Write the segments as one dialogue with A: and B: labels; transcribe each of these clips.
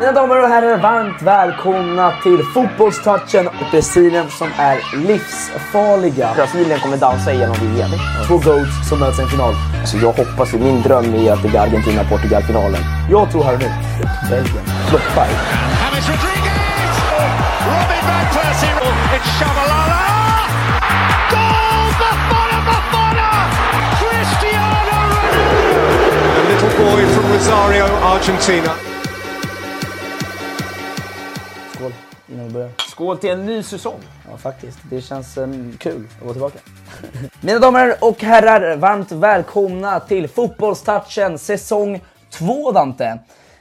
A: Mina damer och herrar, varmt välkomna till fotbollstouchen och Brasilien som är livsfarliga. Brasilien kommer dansa igenom VM. Två goats som möts i en final.
B: Så Alltså, jag hoppas, min dröm är att det blir Argentina-Portugal-finalen.
A: Jag tror här och nu, Belgien pluppar.
C: James Rodriguez! Oh, Robin van Persie! Oh, It's Shabalala! Goal! Buffon! Buffon! Cristiano Ronaldo! A little boy from Rosario, Argentina.
A: Skål, innan vi börjar.
B: Skål till en ny säsong!
A: Ja, faktiskt. Det känns em, kul att vara tillbaka. Mina damer och herrar, varmt välkomna till fotbollstouchen säsong 2, Dante. Eh,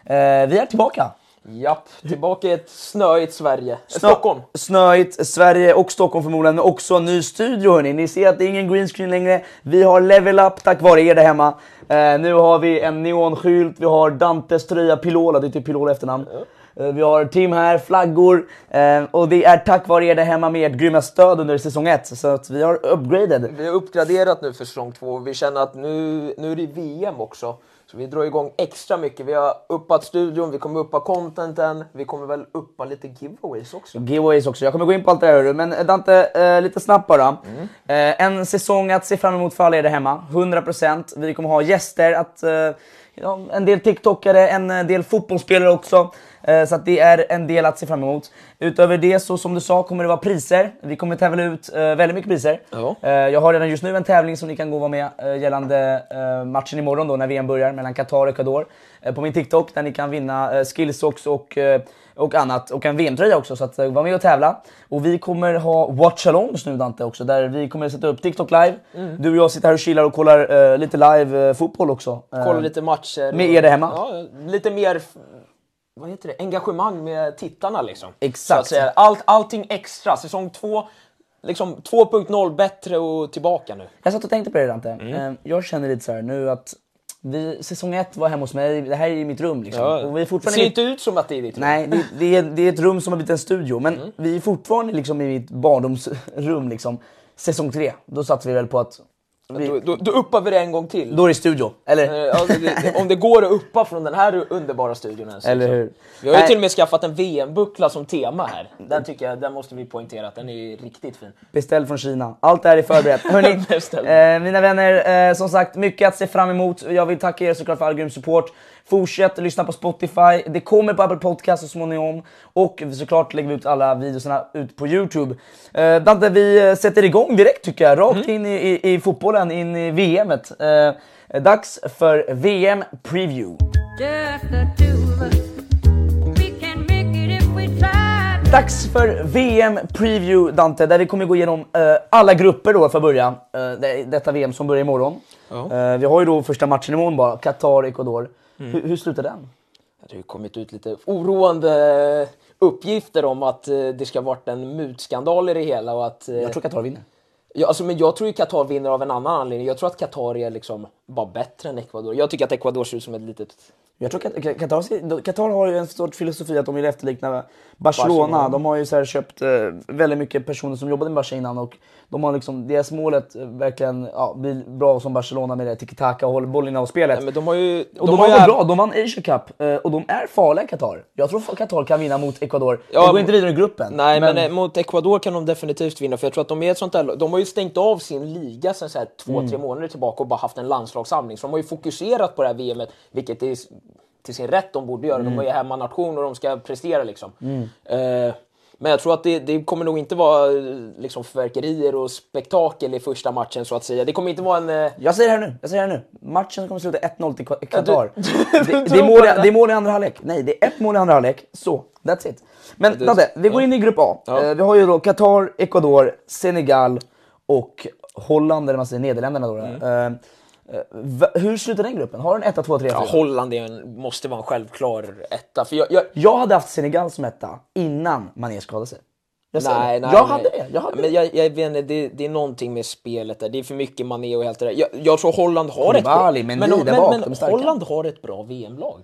A: vi är tillbaka.
B: Japp, tillbaka i ett snöigt Sverige. Eh, Stockholm.
A: Snöigt, Sverige och Stockholm förmodligen, men också en ny studio hörni. Ni ser att det är ingen green screen längre. Vi har level up tack vare er där hemma. Eh, nu har vi en neonskylt, vi har Dantes tröja Pilola, det är typ Pilola i efternamn. Eh, vi har Tim här, flaggor. Eh, och det är tack vare er där hemma med ert grymma stöd under säsong 1. Så att vi har upgraded.
B: Vi har uppgraderat nu för säsong två och vi känner att nu, nu är det VM också. Så vi drar igång extra mycket. Vi har uppat studion, vi kommer uppa contenten, vi kommer väl uppa lite giveaways också.
A: Giveaways också. Jag kommer gå in på allt det här hörru. Men eh, Dante, eh, lite snabbt bara. Eh, en säsong att se fram emot för alla er där hemma. 100%. Vi kommer ha gäster, att, eh, ja, en del TikTokare, en eh, del fotbollsspelare också. Eh, så att det är en del att se fram emot. Utöver det så som du sa kommer det vara priser. Vi kommer tävla ut eh, väldigt mycket priser.
B: Ja.
A: Eh, jag har redan just nu en tävling som ni kan gå och vara med eh, gällande eh, matchen imorgon då när VM börjar mellan Qatar och Ecuador. Eh, på min TikTok där ni kan vinna eh, skillsocks och, eh, och annat. Och en VM-tröja också så att eh, var med och tävla. Och vi kommer ha watchalongs nu Dante också där vi kommer sätta upp TikTok live.
B: Mm.
A: Du och jag sitter här och chillar och kollar eh, lite live eh, fotboll också. Eh,
B: Kolla lite matcher.
A: Med er där hemma.
B: Ja, lite mer f- vad heter det? engagemang med tittarna. Liksom.
A: Exakt.
B: Så att säga. Allt, allting extra. Säsong 2, liksom 2.0 bättre och tillbaka nu. Mm.
A: Jag satt och tänkte på det Dante. Eh, Jag känner lite så här nu att vi, säsong ett var hemma hos mig, det här är mitt rum liksom. Och vi
B: det
A: är fortfarande
B: ser inte ut som att det är ditt rum. Mm.
A: Nej, det, det, är, det är ett rum som har blivit en studio. Men vi är fortfarande liksom i mitt barndomsrum. Liksom. Säsong tre, då satsade vi väl på att... Vi,
B: Då,
A: då,
B: då, då uppar vi det en gång till.
A: är det studio, eller?
B: Eh, alltså, det, om det går att uppa från den här underbara studion. ens,
A: Eller
B: liksom.
A: hur?
B: Vi har ju
A: Nej.
B: till och med skaffat en VM-buckla som tema här. Den tycker jag, den måste vi poängtera att den är riktigt fin.
A: Beställ från Kina. Allt det här är förberett. Hörrni,
B: Beställ.
A: eh, mina vänner, eh, som sagt, mycket att se fram emot. Jag vill tacka er såklart för all grym support. Fortsätt lyssna på Spotify. Det kommer på Apple Podcast så småningom. Och såklart lägger vi ut alla videorna ut på Youtube. Eh, Dante, vi eh, sätter igång direkt tycker jag. Rakt in i, i, i fotbollen, in i VMet. Eh, dags för VM Preview.
D: Just the two of us. We can make it if we try.
A: Dags för VM Preview Dante, där vi kommer gå igenom eh, alla grupper då för att börja. Eh, det, detta VM som börjar imorgon. Eh, vi har ju då första matchen imorgon bara, Qatar-Ecuador. Hur, hur slutar den?
B: Det har ju kommit ut lite oroande uppgifter om att eh, det ska ha varit en mutskandal i det hela och att... eh,
A: Jag tror Qatar vinner. Ja, alltså, men jag tror ju Qatar vinner av en annan anledning. Jag tror att Qatar är liksom bara bättre än Ecuador. Jag tycker att Ecuador ser ut som ett litet...
B: Jag tror Kat- Kat- Qatar, ser- Qatar har ju en sorts filosofi att de vill efterlikna Barcelona.
A: Barcelona.
B: De har ju så här köpt eh, väldigt mycket personer som jobbade med Barca innan och de har liksom, deras målet eh, verkligen ja, bli bra som Barcelona med det tiki-taka och håller bollen av spelet.
A: Nej, men de har ju...
B: Och de,
A: har
B: var
A: ju-
B: bra, de vann Asia Cup eh, och de är farliga Qatar. Jag tror Qatar kan vinna mot Ecuador.
A: Ja,
B: de går
A: men-
B: inte vidare i gruppen.
A: Nej, men, eh, mot Ecuador kan de definitivt vinna. För jag tror att de är ett sånt där... De har ju stängt av sin liga sen så här två, tre månader tillbaka och bara haft en landslagssamling. Så de har ju fokuserat på det här VMet, vilket är s- till sin rätt de borde göra. De är ju hemmanation och de ska prestera liksom. Eh, men jag tror att det, det kommer nog inte vara eh, liksom, fyrverkerier och spektakel i första matchen så att säga. Det kommer inte vara en... eh,
B: Jag säger det här nu, jag säger det här nu. Matchen kommer sluta 1-0 till Qa- Qatar.
A: du-
B: Det, det,
A: tror
B: är mål,
A: på
B: i-
A: det?
B: det är mål i andra halvlek. Nej, det är ett mål i andra halvlek. Så, that's it. Men
A: du-
B: Dante, vi går in i grupp A.
A: Ja.
B: Eh, Vi har ju då Qatar, Ecuador, Senegal och Holland, eller man säger Nederländerna då.
A: Mm.
B: Eh, eh, va- Hur slutar den gruppen? Har du en 1, 2, 3, 4?
A: Ja, Holland är en, måste vara en självklar etta. För jag, jag,
B: Jag hade haft Senegal som etta innan Mané skadade sig. Jag säger
A: Nej,
B: det.
A: nej,
B: jag
A: nej.
B: hade det. Jag hade
A: men
B: det.
A: jag, jag vet inte, det, det är någonting med spelet där. Det är för mycket Mané och allt det där. Jag, jag tror Holland har ett bra...
B: Koulibaly, Mendy
A: men
B: där
A: men,
B: bak, de är
A: men
B: starka.
A: Holland har ett bra VM-lag.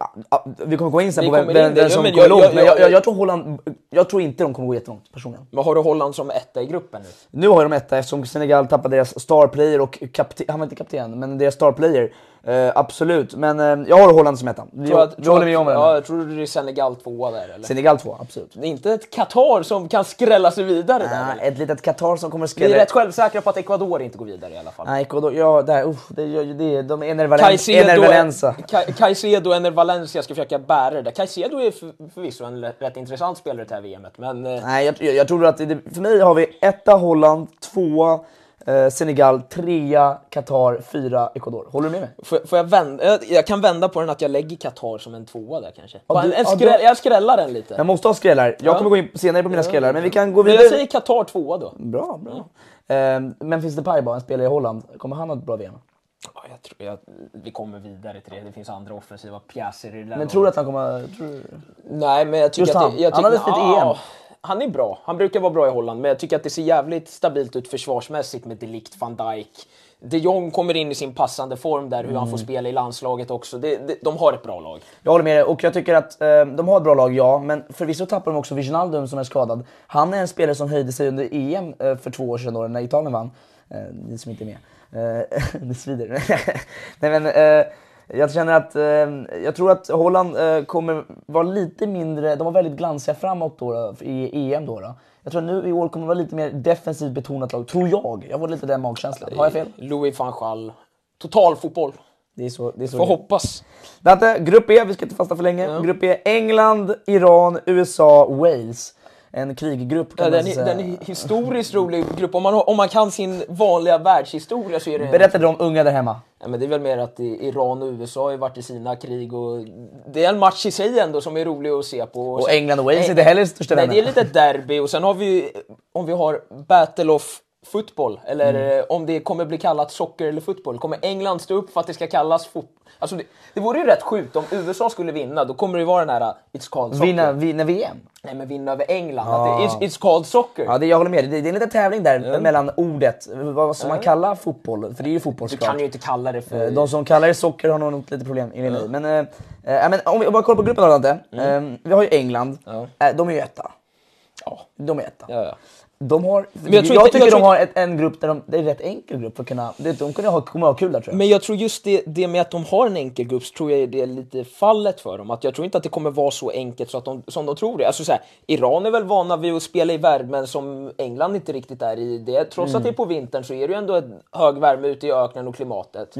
B: Ah, ah, Vi kommer gå in sen
A: Vi
B: på vem,
A: kommer in
B: vem,
A: där.
B: vem
A: Ja,
B: som
A: men
B: kommer
A: jag-
B: långt,
A: jag-
B: men jag,
A: jag-
B: jag, jag, tror Holland, jag tror inte de kommer gå jättelångt personligen.
A: Men har du Holland som etta i gruppen nu?
B: Nu har ju de etta eftersom Senegal tappade deras star player och kapten, han var inte kapten, men deras star player. Eh, absolut, men eh, jag har Holland som etta. Vi,
A: Tror jag-
B: vi
A: tror
B: håller
A: att-
B: med om
A: Ja,
B: varandra.
A: jag tror det är Senegal tvåa där eller?
B: Senegal två, absolut.
A: Det är inte ett Qatar som kan skrälla sig vidare där.
B: Ah,
A: eller?
B: ett litet Qatar som kommer
A: Vi är
B: skrälla.
A: rätt självsäkra på att Ecuador inte går vidare i alla fall.
B: Nej, Ecuador, ja, där, uff, det, det, det, de är Ener Valen- Ener Valencia.
A: Caicedo, Ca- Caicedo och Ener Valencia ska försöka bära det där. Caicedo är för- förvisso en l- rätt intressant spelare i det här VMet, men... eh,
B: Nej, jag, jag, jag tror att det, för mig har vi etta Holland, tvåa eh, Senegal, trea Qatar, fyra Ecuador. Håller du med mig?
A: Får, får jag, vända, jag, jag kan vända på den att jag lägger Qatar som en tvåa där kanske.
B: Ja,
A: Bara en,
B: du-
A: en
B: ja,
A: skräll,
B: du-
A: Jag skrällar den lite.
B: Jag måste ha skrällar. Jag
A: Ja.
B: kommer gå in senare på mina skrällar, men vi kan gå
A: Men
B: vidare.
A: jag säger Qatar tvåa då.
B: Bra, bra. Eh, men finns det Paiba, en spelare i Holland, kommer han ha ett bra VM?
A: Ja, jag tror, jag, vi kommer vidare till det. Det finns andra offensiva pjäser i det där
B: Men
A: laget.
B: tror du att han kommer... Tror... du-
A: Nej, men jag tycker
B: Just
A: att...
B: han.
A: Det, jag
B: Han
A: tycker-
B: hade spelat
A: ja,
B: EM.
A: Han är bra. Han brukar vara bra i Holland, men jag tycker att det ser jävligt stabilt ut försvarsmässigt med Delict, van Dijk. De Jong kommer in i sin passande form där, hur han
B: Mm.
A: får spela i landslaget också. Det, det, de har ett bra lag.
B: Jag håller med dig och jag tycker att eh, de har ett bra lag, ja. Men förvisso tappar de också Wijnaldum som är skadad. Han är en spelare som höjde sig under EM eh, för två år sedan då, när Italien vann. Eh, ni som inte är med. Eh, det svider. Nej men, eh, jag känner att, eh, jag tror att Holland eh, kommer vara lite mindre, de var väldigt glansiga framåt då, då i EM då. då. Jag tror att nu i år kommer det vara lite mer defensivt betonat lag, tror jag. Jag får lite den magkänslan. Har jag fel?
A: Louis van Gaal. Total fotboll.
B: Det är så, det är så
A: Får
B: det är.
A: hoppas.
B: Dante, grupp E, vi ska inte fastna för länge. Grupp E, England, Iran, USA, Wales. En kriggrupp kan
A: Ja,
B: man
A: den,
B: så
A: är-
B: säga.
A: den är historiskt rolig grupp. Om man, har- om man kan sin vanliga världshistoria så är det...
B: Berätta de unga där hemma.
A: Ja, men det är väl mer att i- Iran och USA har ju varit i sina krig och det är en match i sig ändå som är rolig att se på.
B: Och
A: sen-
B: England och Wales är
A: Eh,
B: inte heller största
A: Nej, det
B: vänner.
A: är lite ett derby och sen har vi ju- om vi har Battle of Football eller
B: Mm.
A: eh, om det kommer bli kallat socker eller fotboll. Kommer England stå upp för att det ska kallas fotboll? Alltså det, det vore ju rätt sjukt om USA skulle vinna. Då kommer det vara den här uh, It's called soccer.
B: Vinna, vinna VM.
A: Nej men vinna över England. Att det, it's, it's called soccer.
B: Ja, det, jag håller med dig. Det, det är en liten tävling där mellan ordet, vad som man kallar fotboll, för det är ju fotboll
A: Du
B: såklart.
A: kan ju inte kalla det för...
B: Eh, De som kallar det socker har nog något lite problem enligt mig. Men, eh, eh, ja, men om vi bara kollar på gruppen då Dante.
A: Mm.
B: Eh, vi har ju England. Eh, de är ju etta.
A: Ja.
B: De är etta.
A: Ja, ja.
B: De har,
A: jag
B: jag,
A: tror inte-
B: tycker
A: jag
B: de
A: tror
B: har ett, en grupp där de, det är en rätt enkel grupp för att kunna, det- de kunde ha, kommer ha kul där tror jag.
A: Men jag tror just det, det med att de har en enkel grupp så tror jag det är lite fallet för dem. Att jag tror inte att det kommer vara så enkelt så att de, som de tror det. Alltså så här, Iran är väl vana vid att spela i värmen som England inte riktigt är i. Det. Trots att det är på vintern så är det ju ändå en hög värme ute i öknen och klimatet.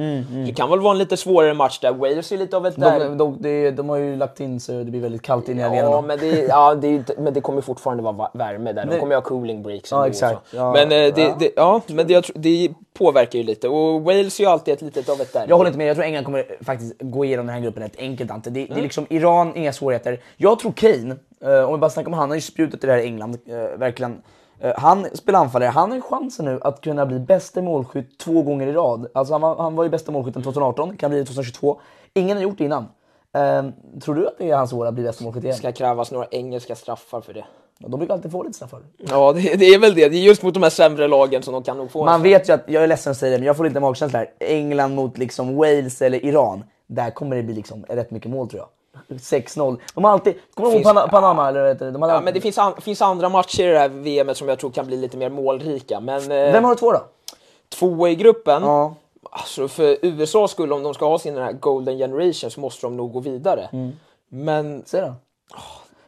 A: Det kan väl vara en lite svårare match där. Wales är lite av ett derby.
B: de, de, de, de har ju lagt in så det blir väldigt kallt in i
A: Ja,
B: arenan.
A: men det, ja det är, ju inte- men det kommer fortfarande vara va- värme där. De kommer ju ha cooling breaks.
B: Ja,
A: ändå och
B: exakt.
A: så.
B: Ja.
A: men eh, det, det, ja, men det, jag tror- det påverkar ju lite. Och Wales är ju alltid ett litet av ett derby.
B: Jag håller inte med, jag tror England kommer faktiskt gå igenom den här gruppen rätt enkelt Ante. Det,
A: Mm.
B: det är liksom Iran, inga svårigheter. Jag tror Kane, eh, om vi bara snackar om han, han har ju spjutet i det här England, eh, verkligen. Eh, han spelar anfallare, han har ju chansen nu att kunna bli bästa målskytt två gånger i rad. Alltså han var, han var ju bästa målskytten 2018, kan bli det 2022. Ingen har gjort Ehm, det innan. Eh, tror du att det är hans år att bli bästa målskytt igen?
A: Det ska krävas några engelska straffar för det.
B: Och de brukar alltid få lite straffar.
A: Ja, det, det är väl det. Det är just mot de här sämre lagen som de kan nog få.
B: Man vet ju att, jag är ledsen att säga det, men jag får lite magkänsla här. England mot liksom Wales eller Iran. Där kommer det bli liksom rätt mycket mål tror jag. 6-0. De har alltid... Kommer du ihåg
A: Finns-
B: Pana- Panama? Eller vad heter det? De hade
A: Ja,
B: alltid-
A: men det finns, an, finns andra matcher i det här VMet som jag tror kan bli lite mer målrika. Men eh,
B: Vem har du två då?
A: två i gruppen.
B: Ja.
A: Alltså för USA skulle om de ska ha sin den här Golden Generation så måste de nog gå vidare. Men
B: Säg då.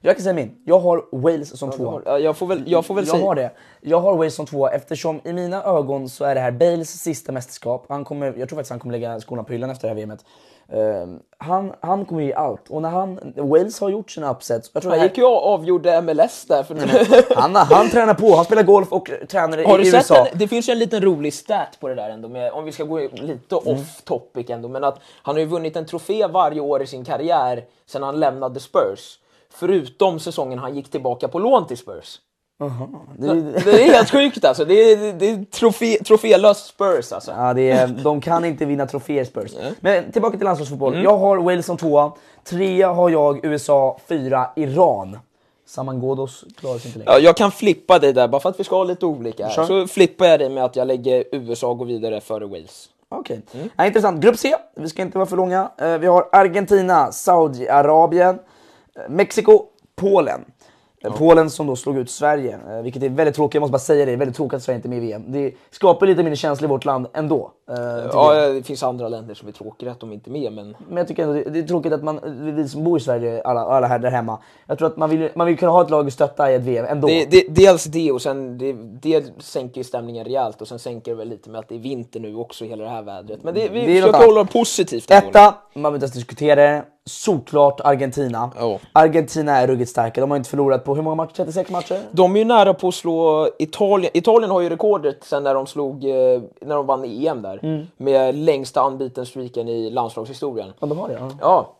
B: Jag kan säga min. Jag har Wales som tvåa.
A: Ja, jag får väl, jag får väl
B: Jag
A: säga...
B: har det. Jag har Wales som tvåa eftersom i mina ögon så är det här Bales sista mästerskap. Han kommer, jag tror faktiskt han kommer lägga skorna på hyllan efter det här VMet. Ehm, han, han kommer ge allt. Och när han, Wales har gjort sina upsets. Jag tror
A: Han
B: det här-
A: gick ju och avgjorde MLS där för
B: han, han tränar på, han spelar golf och tränar i
A: Har du
B: i
A: sett
B: USA.
A: en, det finns ju en liten rolig stat på det där ändå, med, om vi ska gå lite
B: Mm.
A: off topic ändå, men att han har ju vunnit en trofé varje år i sin karriär sedan han lämnade Spurs. Förutom säsongen han gick tillbaka på lån till Spurs. Det är helt sjukt alltså. Det är, det är trofé, trofélöst Spurs alltså.
B: Ja, det är, de kan inte vinna troféer Spurs. Men tillbaka till landslagsfotboll.
A: Mm.
B: Jag har Wales som tvåa, trea har jag USA, fyra Iran. Saman Ghoddos klarar sig inte längre.
A: Ja, jag kan flippa dig där, bara för att vi ska ha lite olika här.
B: Kör.
A: Så flippar jag dig med att jag lägger USA och går vidare före Wales.
B: Okej.
A: Mm.
B: Ja, intressant. Grupp C, vi ska inte vara för långa. Eh, Vi har Argentina, Saudiarabien, eh, Mexiko, Polen. Eh, Polen som då slog ut Sverige, eh, vilket är väldigt tråkigt. Jag måste bara säga det, det är väldigt tråkigt att Sverige inte är med i VM. Det skapar lite mindre känsla i vårt land ändå. eh, tycker jag.
A: Ja, det finns andra länder som är tråkiga att de inte är med, men
B: Men jag tycker ändå det, det är tråkigt att man, vi som bor i Sverige, alla, alla här där hemma. Jag tror att man vill, ju- man vill kunna ha ett lag att stötta i ett VM ändå.
A: Det, det, dels det och sen det, det sänker ju stämningen rejält och sen sänker det väl lite med att det är vinter nu också hela det här vädret. Men det, vi
B: Det är något
A: försöker hålla det positivt. ändå.
B: Etta, man behöver inte ens diskutera det. Såklart Argentina.
A: Ja.
B: Argentina är ruggigt starka. De har inte förlorat på hur många matcher? 36 matcher?
A: De är ju nära på att slå Italien. Italien har ju rekordet sen när de, slog, eh, när de vann EM där. Med längsta unbeaten streaken i landslagshistorien.
B: Ja, de har det. Ja.
A: Ja.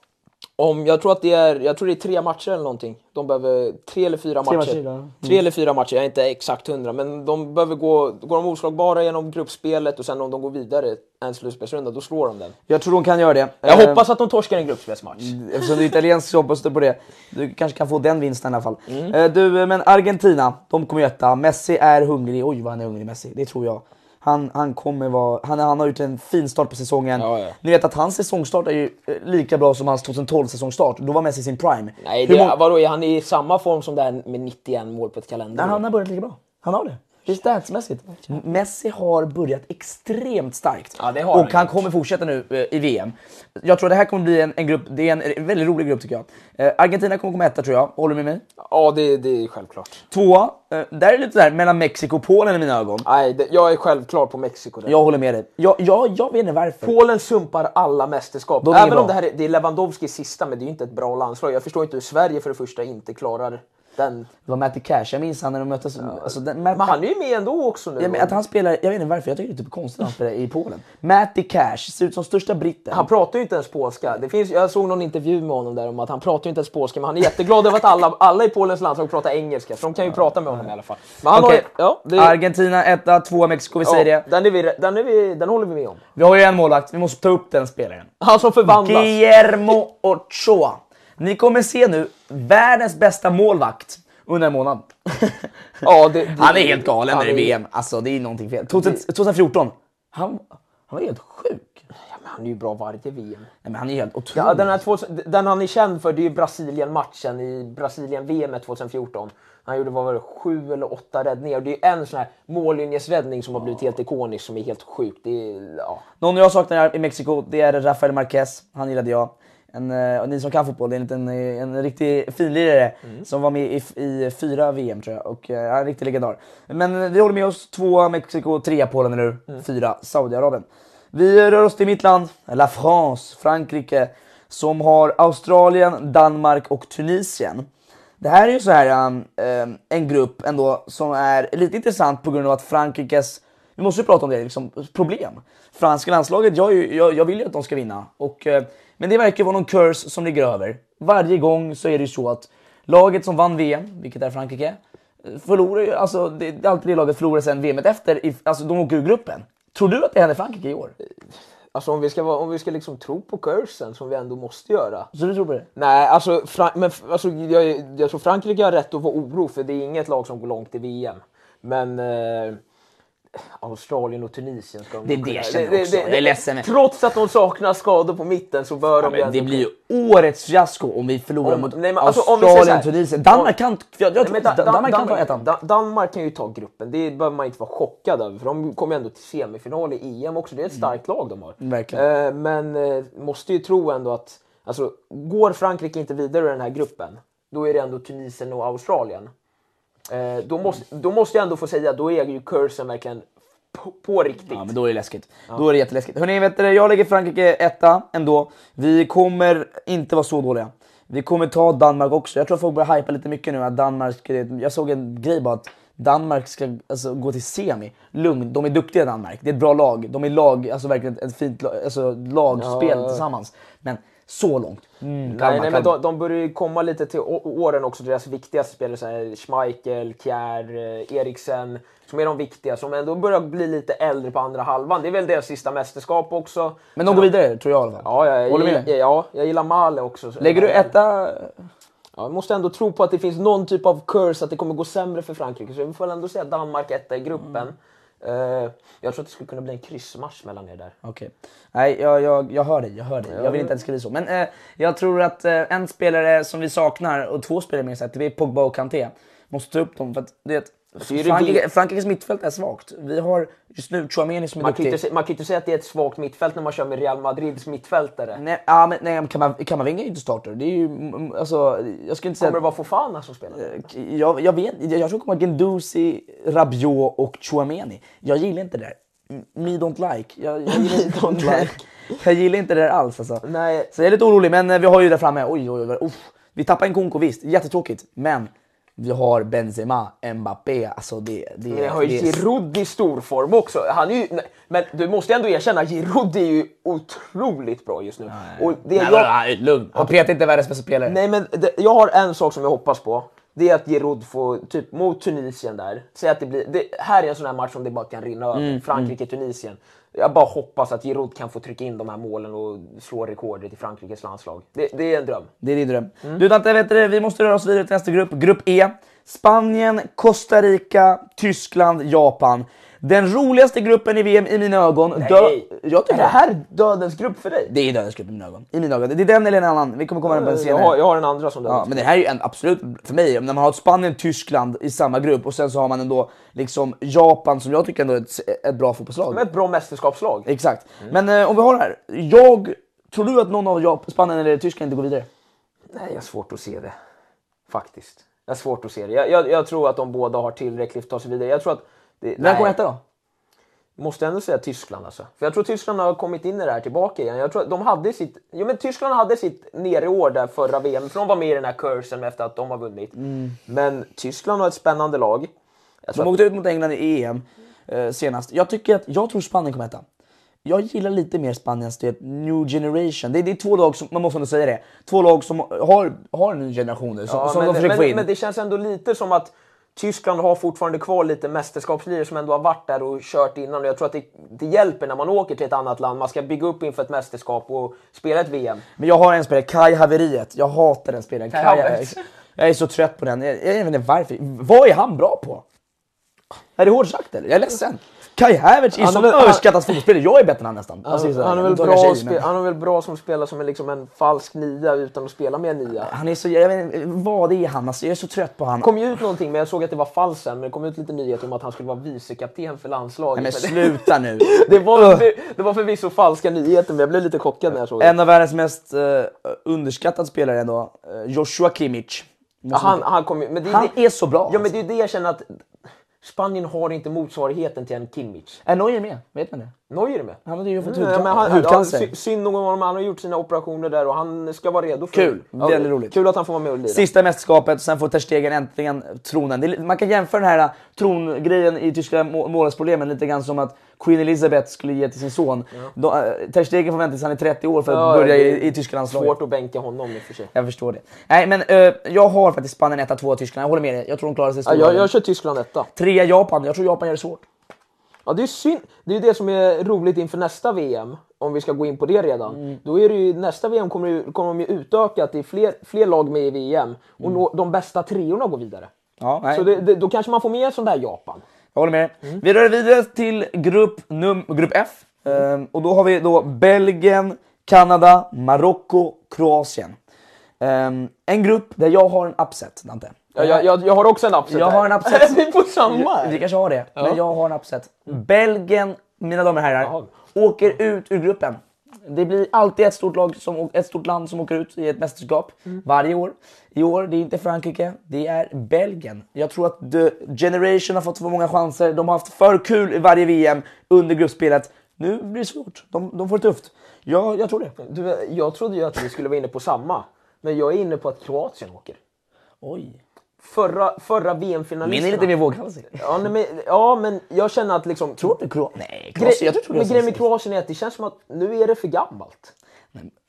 A: Om, jag, tror att det är, jag tror det är tre matcher eller någonting. De behöver tre eller fyra
B: Tre
A: matcher.
B: matcher, ja. Mm.
A: Tre eller fyra matcher, jag är inte exakt hundra. Men de behöver gå, går de oslagbara genom gruppspelet och sen om de går vidare en slutspelsrunda, då slår de den. Ehm, Mm.
B: Jag tror de kan göra det.
A: Jag
B: Eh,
A: hoppas att de torskar en gruppspelsmatch.
B: Eftersom du är italiensk så hoppas du på det. Du kanske kan få den vinsten i alla fall.
A: Mm.
B: Eh, Du, eh, men Argentina, de kommer ju etta. Messi är hungrig. Oj vad han är hungrig Messi, det tror jag. Han, han, kommer vara, han, han har gjort en fin start på säsongen.
A: Ja, ja.
B: Ni vet att hans säsongstart är ju eh, lika bra som hans 2012 säsongstart. Då var Messi i sin prime.
A: Nej,
B: Hur
A: det,
B: många-
A: vadå, är han i samma form som där med 91 mål på ett
B: Nej,
A: kalenderår?
B: han har börjat lika bra. Han har det.
A: Mm.
B: Det är statsmässigt. Messi har börjat extremt starkt.
A: Ja, det har
B: och
A: han
B: han
A: gjort.
B: kommer fortsätta nu eh, i VM. Jag tror det här kommer bli en, en grupp, det är en, en väldigt rolig grupp tycker jag. Eh, Argentina kommer komma etta tror jag, håller du med mig?
A: Ja, det, det är självklart.
B: Tvåa, eh, där är det lite sådär mellan Mexiko och Polen i mina ögon.
A: Nej, det, jag är självklar på Mexiko. Där.
B: Jag håller med dig. Jag, jag, jag vet inte varför.
A: Polen sumpar alla mästerskap.
B: De är
A: Även
B: bra.
A: om det här är, det är Lewandowskis sista, men det är ju inte ett bra landslag. Jag förstår inte hur Sverige för det första inte klarar den.
B: Det var Matty Cash, jag minns han när de möttes. Alltså, den,
A: Men han är ju med ändå också nu.
B: Ja, men att han spelar, jag vet inte varför, jag tycker det är typ konstigt att han spelar i Polen. Matty Cash, ser ut som största britten.
A: Han pratar ju inte ens polska. Det finns, jag såg någon intervju med honom där om att han pratar ju inte ens polska, men han är jätteglad över att alla, alla i Polens landslag pratar engelska, så de kan ju prata med honom i alla fall. Men han
B: Okej.
A: har, ja, det,
B: Argentina etta, tvåa Mexiko, vi
A: ja,
B: säger det.
A: Den, är vi, den, är vi, den håller vi med om.
B: Vi har ju en målvakt, vi måste ta upp den spelaren.
A: Han som förvandlas.
B: Guillermo Ochoa. Ni kommer se nu världens bästa målvakt under en månad.
A: Ja, det- det-
B: han är helt galen
A: han
B: när det är
A: är-
B: VM. Alltså det är någonting fel. 2000 2014. Han, han var helt sjuk.
A: Ja, men han är ju bra varje VM.
B: Nej, men han är helt otrolig.
A: Ja, den, här 2000, den han är känd för det är ju Brasilien-matchen i Brasilien-VM 2014. Han gjorde vad var det, sju eller åtta räddningar. Det är ju en sån här mållinjesräddning som har blivit helt ikonisk som är helt sjuk. Det är, ja.
B: Någon jag saknar i Mexiko, det är Rafael Marquez. Han gillade jag. En, eh, och ni som kan fotboll, det är en, liten, eh, en riktig finlirare
A: Mm.
B: som var med i, f- i fyra VM tror jag. Och eh, han är en riktig legendar. Men eh, vi håller med oss. Två Mexiko, trea Polen, eller hur?
A: Mm.
B: Fyra Saudiarabien. Vi rör oss till mitt land, La France, Frankrike. Som har Australien, Danmark och Tunisien. Det här är ju så här um, um, en grupp ändå som är lite intressant på grund av att Frankrikes, vi måste ju prata om det, liksom, problem. Franska landslaget, jag, är ju- jag, jag vill ju att de ska vinna. Och, eh, men det verkar vara någon curse som ligger över. Varje gång så är det ju så att laget som vann VM, vilket är Frankrike, eh, förlorar ju, alltså det, det är alltid det laget förlorar sen VMet efter, i, alltså de åker ur gruppen. Tror du att det händer Frankrike i år?
A: Alltså om vi ska, vara- om vi ska liksom tro på cursen som vi ändå måste göra.
B: Så du tror på det?
A: Nej, alltså, Fra- men, f- alltså jag, jag tror Frankrike har rätt att vara oro för det är inget lag som går långt i VM. Men eh, Australien och Tunisien ska de
E: Det är
A: nog
E: det
A: kunna-
E: jag känner också. Jag är ledsen.
A: Trots att de saknar skador på mitten så bör de ju
E: Men
A: ändå
E: det blir ju årets fiasko om vi förlorar
A: Om-
E: mot
A: nej, men alltså, om vi säger så
B: Australien,
A: här-
B: Tunisien. Danmark kan, jag, jag
A: Nej,
B: tror
A: men
B: inte
A: Dan- Dan-
B: Danmark kan ta
A: Danmark-
B: ettan.
A: Dan- Danmark kan ju ta gruppen, det behöver man inte vara chockad över. För de kommer ju ändå till semifinal i EM också. Det är ett starkt lag de har.
B: Mm. Verkligen.
A: Eh, Men eh, måste ju tro ändå att, alltså, går Frankrike inte vidare ur den här gruppen, då är det ändå Tunisien och Australien. Eh, Då måste, då måste jag ändå få säga, då är ju cursen verkligen på, på riktigt.
E: Ja, men då är det läskigt.
B: Då är det jätteläskigt. Hörrni, vet du, jag lägger Frankrike etta ändå. Vi kommer inte vara så dåliga. Vi kommer ta Danmark också. Jag tror folk börjar hypa lite mycket nu att Danmark ska... Jag såg en grej bara att Danmark ska alltså, gå till semi. Lugn, de är duktiga Danmark. Det är ett bra lag. De är lag, alltså verkligen ett fint lag, alltså, lagspel tillsammans. Men så långt. Mm,
A: Nej,
B: Kalmar,
A: nej, men
B: Kalmar.
A: de, de börjar ju komma lite till å- åren också, deras viktigaste spelare, så här Schmeichel, Kjær, eh, Eriksen, som är de viktiga, som ändå börjar bli lite äldre på andra halvan. Det är väl deras sista mästerskap också.
B: Men de går vidare tror jag i alla fall.
A: Ja, jag,
B: Håller med
A: jag,
B: dig?
A: ja, jag gillar Male också.
B: Lägger du etta?
A: Ja, jag måste ändå tro på att det finns någon typ av curse att det kommer gå sämre för Frankrike. Så vi får väl ändå säga Danmark etta i gruppen.
B: Mm.
A: Eh, jag tror att det skulle kunna bli en kryssmatch mellan er där.
B: Okej. Nej, jag, jag, jag hör dig. Jag hör dig. Jag vill inte att det ska bli så. Men eh, jag tror att eh, en spelare som vi saknar, och två spelare minst sagt, det är Pogba och Kanté. Måste ta upp dem för att du vet,
A: är det
B: Frankrike,
A: vi-
B: Frankrikes mittfält är svagt. Vi har just nu Chouameni som är
A: Man kan, ju inte,
B: duktig.
A: se- man kan ju inte säga att det är ett svagt mittfält när man kör med Real Madrids mittfältare.
B: Nej, ah, men, nej, men Kamav- Kamavinga är ju inte starter. Det är ju, mm, alltså, jag skulle inte säga...
A: Kommer det vara Fofana som spelar?
B: Eh, jag, jag vet jag, jag tror det kommer vara Guendouzi, Rabiot och Chouameni. Jag gillar inte det där. M- Me don't like. Jag, jag, gillar, inte-
A: don't like.
B: jag gillar inte det där alls alltså.
A: Nej.
B: Så jag är lite orolig, men eh, vi har ju där framme, oj oj oj. Uff. Vi tappar en Konko visst, jättetråkigt. Men vi har Benzema, Mbappé, alltså det, det,
A: Men jag har ju
B: det
A: Giroud i stor form också. Han är ju, nej, men du måste ändå erkänna, Giroud är ju otroligt bra just nu. Och det
E: Nej,
A: jag,
E: men, lugn.
B: Han petar inte världens bästa spelare.
A: nej, men det, jag har en sak som jag hoppas på. Det är att Giroud får, typ mot Tunisien där, säg att det blir, det, här är en sån här match som det bara kan rinna över.
B: Mm,
A: Frankrike-Tunisien. Jag bara hoppas att Giroud kan få trycka in de här målen och slå rekordet i Frankrikes landslag. Det, det är en dröm.
B: Det är din dröm. Du Dante, vet du, det, vi måste röra oss vidare till nästa grupp. Grupp E. Spanien, Costa Rica, Tyskland, Japan. Den roligaste gruppen i VM i mina ögon. Nej, jag tycker
A: är det här dödens grupp för dig?
B: Det är dödens grupp i mina ögon. I mina ögon. Det är den eller en annan. Vi kommer komma in på den
A: jag,
B: senare.
A: har, jag har en andra som dödens
B: Ja, men det här är ju en, absolut, för mig, när man har ett Spanien, Tyskland i samma grupp och sen så har man ändå liksom Japan som jag tycker ändå är ett, ett bra fotbollslag.
A: De är ett bra mästerskapslag.
B: Exakt. Men eh, om vi har det här. Jag, tror du att någon av Jap- Spanien eller Tyskland inte går vidare?
A: Nej, jag har svårt att se det. Faktiskt. Jag har svårt att se det. Jag, jag, jag tror att de båda har tillräckligt för att ta sig vidare. Jag tror att... Det,
B: Vem kommer
A: nej.
B: etta då?
A: Måste jag ändå säga Tyskland alltså. För jag tror Tyskland har kommit in i det här tillbaka igen. Jag tror att de hade sitt... Jo men Tyskland hade sitt nere år där förra VM. För de var med i den här cursen efter att de har vunnit.
B: Mm.
A: Men Tyskland har ett spännande lag. Jag tror
B: De åkte ut mot England i EM eh, senast. Jag tycker att, jag tror Spanien kommer etta. Jag gillar lite mer Spaniens det är ett new generation. Det, det är två lag som, man måste ändå säga det, två lag som har, har en ny generation nu som,
A: Ja,
B: som
A: men,
B: de försöker
A: men,
B: få in.
A: men det känns ändå lite som att Tyskland har fortfarande kvar lite mästerskapslirare som ändå har varit där och kört innan. Och jag tror att det, det hjälper när man åker till ett annat land. Man ska bygga upp inför ett mästerskap och spela ett VM.
B: Men jag har en spelare, Kai Haveriet. Jag hatar den spelaren.
A: Kai
B: Kai
A: Havertz.
B: jag är så trött på den. Jag, jag vet inte varför. Vad är han bra på? Är det hårt sagt eller? Jag är ledsen. Kai Havertz är
A: Han
B: som
A: är väl- han-
B: överskattad fotbollsspelare. Jag är bättre än han nästan. Alltså,
A: Han,
B: så här,
A: han, är väl
B: jag tar
A: bra
B: kanske i,
A: spe,
B: men-
A: han är väl bra som spelar som en, liksom en falsk nia utan att spela med en nia.
B: Han är så, jag vet inte, vad är han? Alltså, jag är så trött på han.
A: Det kom ju ut någonting, men jag såg att det var falskt sen. Men det kom ut lite nyheter om att han skulle vara vicekapten för landslaget.
B: Nej, men
A: Men
B: sluta nu.
A: det, det, var, det, det var förvisso falska nyheter, men jag blev lite chockad när jag såg det.
B: En av världens mest eh, underskattade spelare ändå, eh, Joshua Kimmich.
A: Ja, han, han, kom, ju- men det,
B: Han
A: det,
B: är så bra. alltså.
A: Ja, men det är det jag känner att Spanien har inte motsvarigheten till en Kimmich.
B: Är Neuer med? Vet man det?
A: Neuer är med.
B: Han hade ju fått
A: Ja, men
B: hudca-
A: han, ja,
B: hudcancer.
A: sy- synd nog om honom, han har gjort sina operationer där och han ska vara redo för
B: Kul.
A: Ja,
B: Väldigt roligt.
A: Kul att han får vara med och lira.
B: Sista mästerskapet, sen får Ter Stegen äntligen tronen. Det är, li- man kan jämföra den här äh, trongrejen i tyska må- målvärldsproblemen lite grann som att Queen Elizabeth skulle ge till sin son. Då, eh, Ter Stegen får vänta tills han är 30 år för att
A: Ja,
B: börja
A: det är
B: i, i tyska landslaget.
A: Svårt att bänka honom i och för sig.
B: Jag förstår det. Nej men eh, jag har faktiskt Spanien 1 tvåa Tyskland, jag håller med dig. Jag tror de klarar sig i
A: Ja,
B: stora
A: jag,
B: delen.
A: jag kör Tyskland etta.
B: Trea Japan, jag tror Japan gör det svårt.
A: Ja, det är synd. Det är ju det som är roligt inför nästa VM, om vi ska gå in på det redan.
B: Mm.
A: Då är det ju, nästa VM kommer, ju- kommer de ju utöka att det är fler, fler lag med i VM och nå, de bästa treorna går vidare.
B: Mm. Ja, nej.
A: Så det, det, då kanske man får med en sån där Japan.
B: Jag håller med dig. Vi rör vidare till grupp, num- grupp F. Ehm, och då har vi då Belgien, Kanada, Marocko, Kroatien. Ehm, en grupp där jag har en upset, Dante.
A: Ja, jag, jag, jag har också en upset
B: Jag
A: här.
B: har en upset.
A: vi är på samma?
B: Vi kanske har det, men jag har en upset. Belgien, mina damer och herrar, åker ut ur gruppen. Det blir alltid ett stort, lag som, ett stort land som åker ut i ett mästerskap varje år. I år, det är inte Frankrike, det är Belgien. Jag tror att The Generation har fått för många chanser. De har haft för kul i varje VM under gruppspelet. Nu blir det svårt. De, de får det tufft. Ja, jag tror det.
A: Du, jag trodde ju att vi skulle vara inne på samma, men jag är inne på att Kroatien åker.
B: Oj.
A: Förra, förra
B: Min
A: VM-finalisterna.
B: är lite mer våghalsig.
A: Ja, nej, men, ja, men jag känner att liksom...
B: Tror du Kroatien? Nej,
A: Gre-
B: Kroatien. Jag tror
A: men
B: Kroatien.
A: grejen med Kroatien är att det känns som att nu är det för gammalt.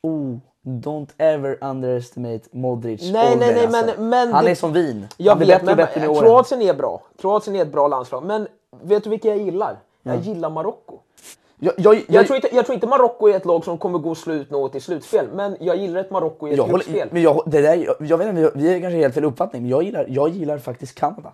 B: Oh, don't ever underestimate Modric
A: Nej,
B: ålder,
A: nej, nej,
B: alltså.
A: men, men
B: Han
A: det-
B: är som vin.
A: Jag
B: Han blir
A: vet,
B: bättre
A: men,
B: och bättre med åren.
A: Kroatien är bra. Kroatien är ett bra landslag. Men vet du vilka jag gillar? Jag gillar Marocko.
B: Jag, jag, jag,
A: Jag, tror inte, jag tror inte Marocko är ett lag som kommer gå slut något i slutspel, men jag gillar ett Marocko i ett
B: jag
A: gruppspel.
B: håller, men jag, det där, jag, jag vet inte, vi är kanske helt fel uppfattning, men jag gillar, jag gillar faktiskt Kanada.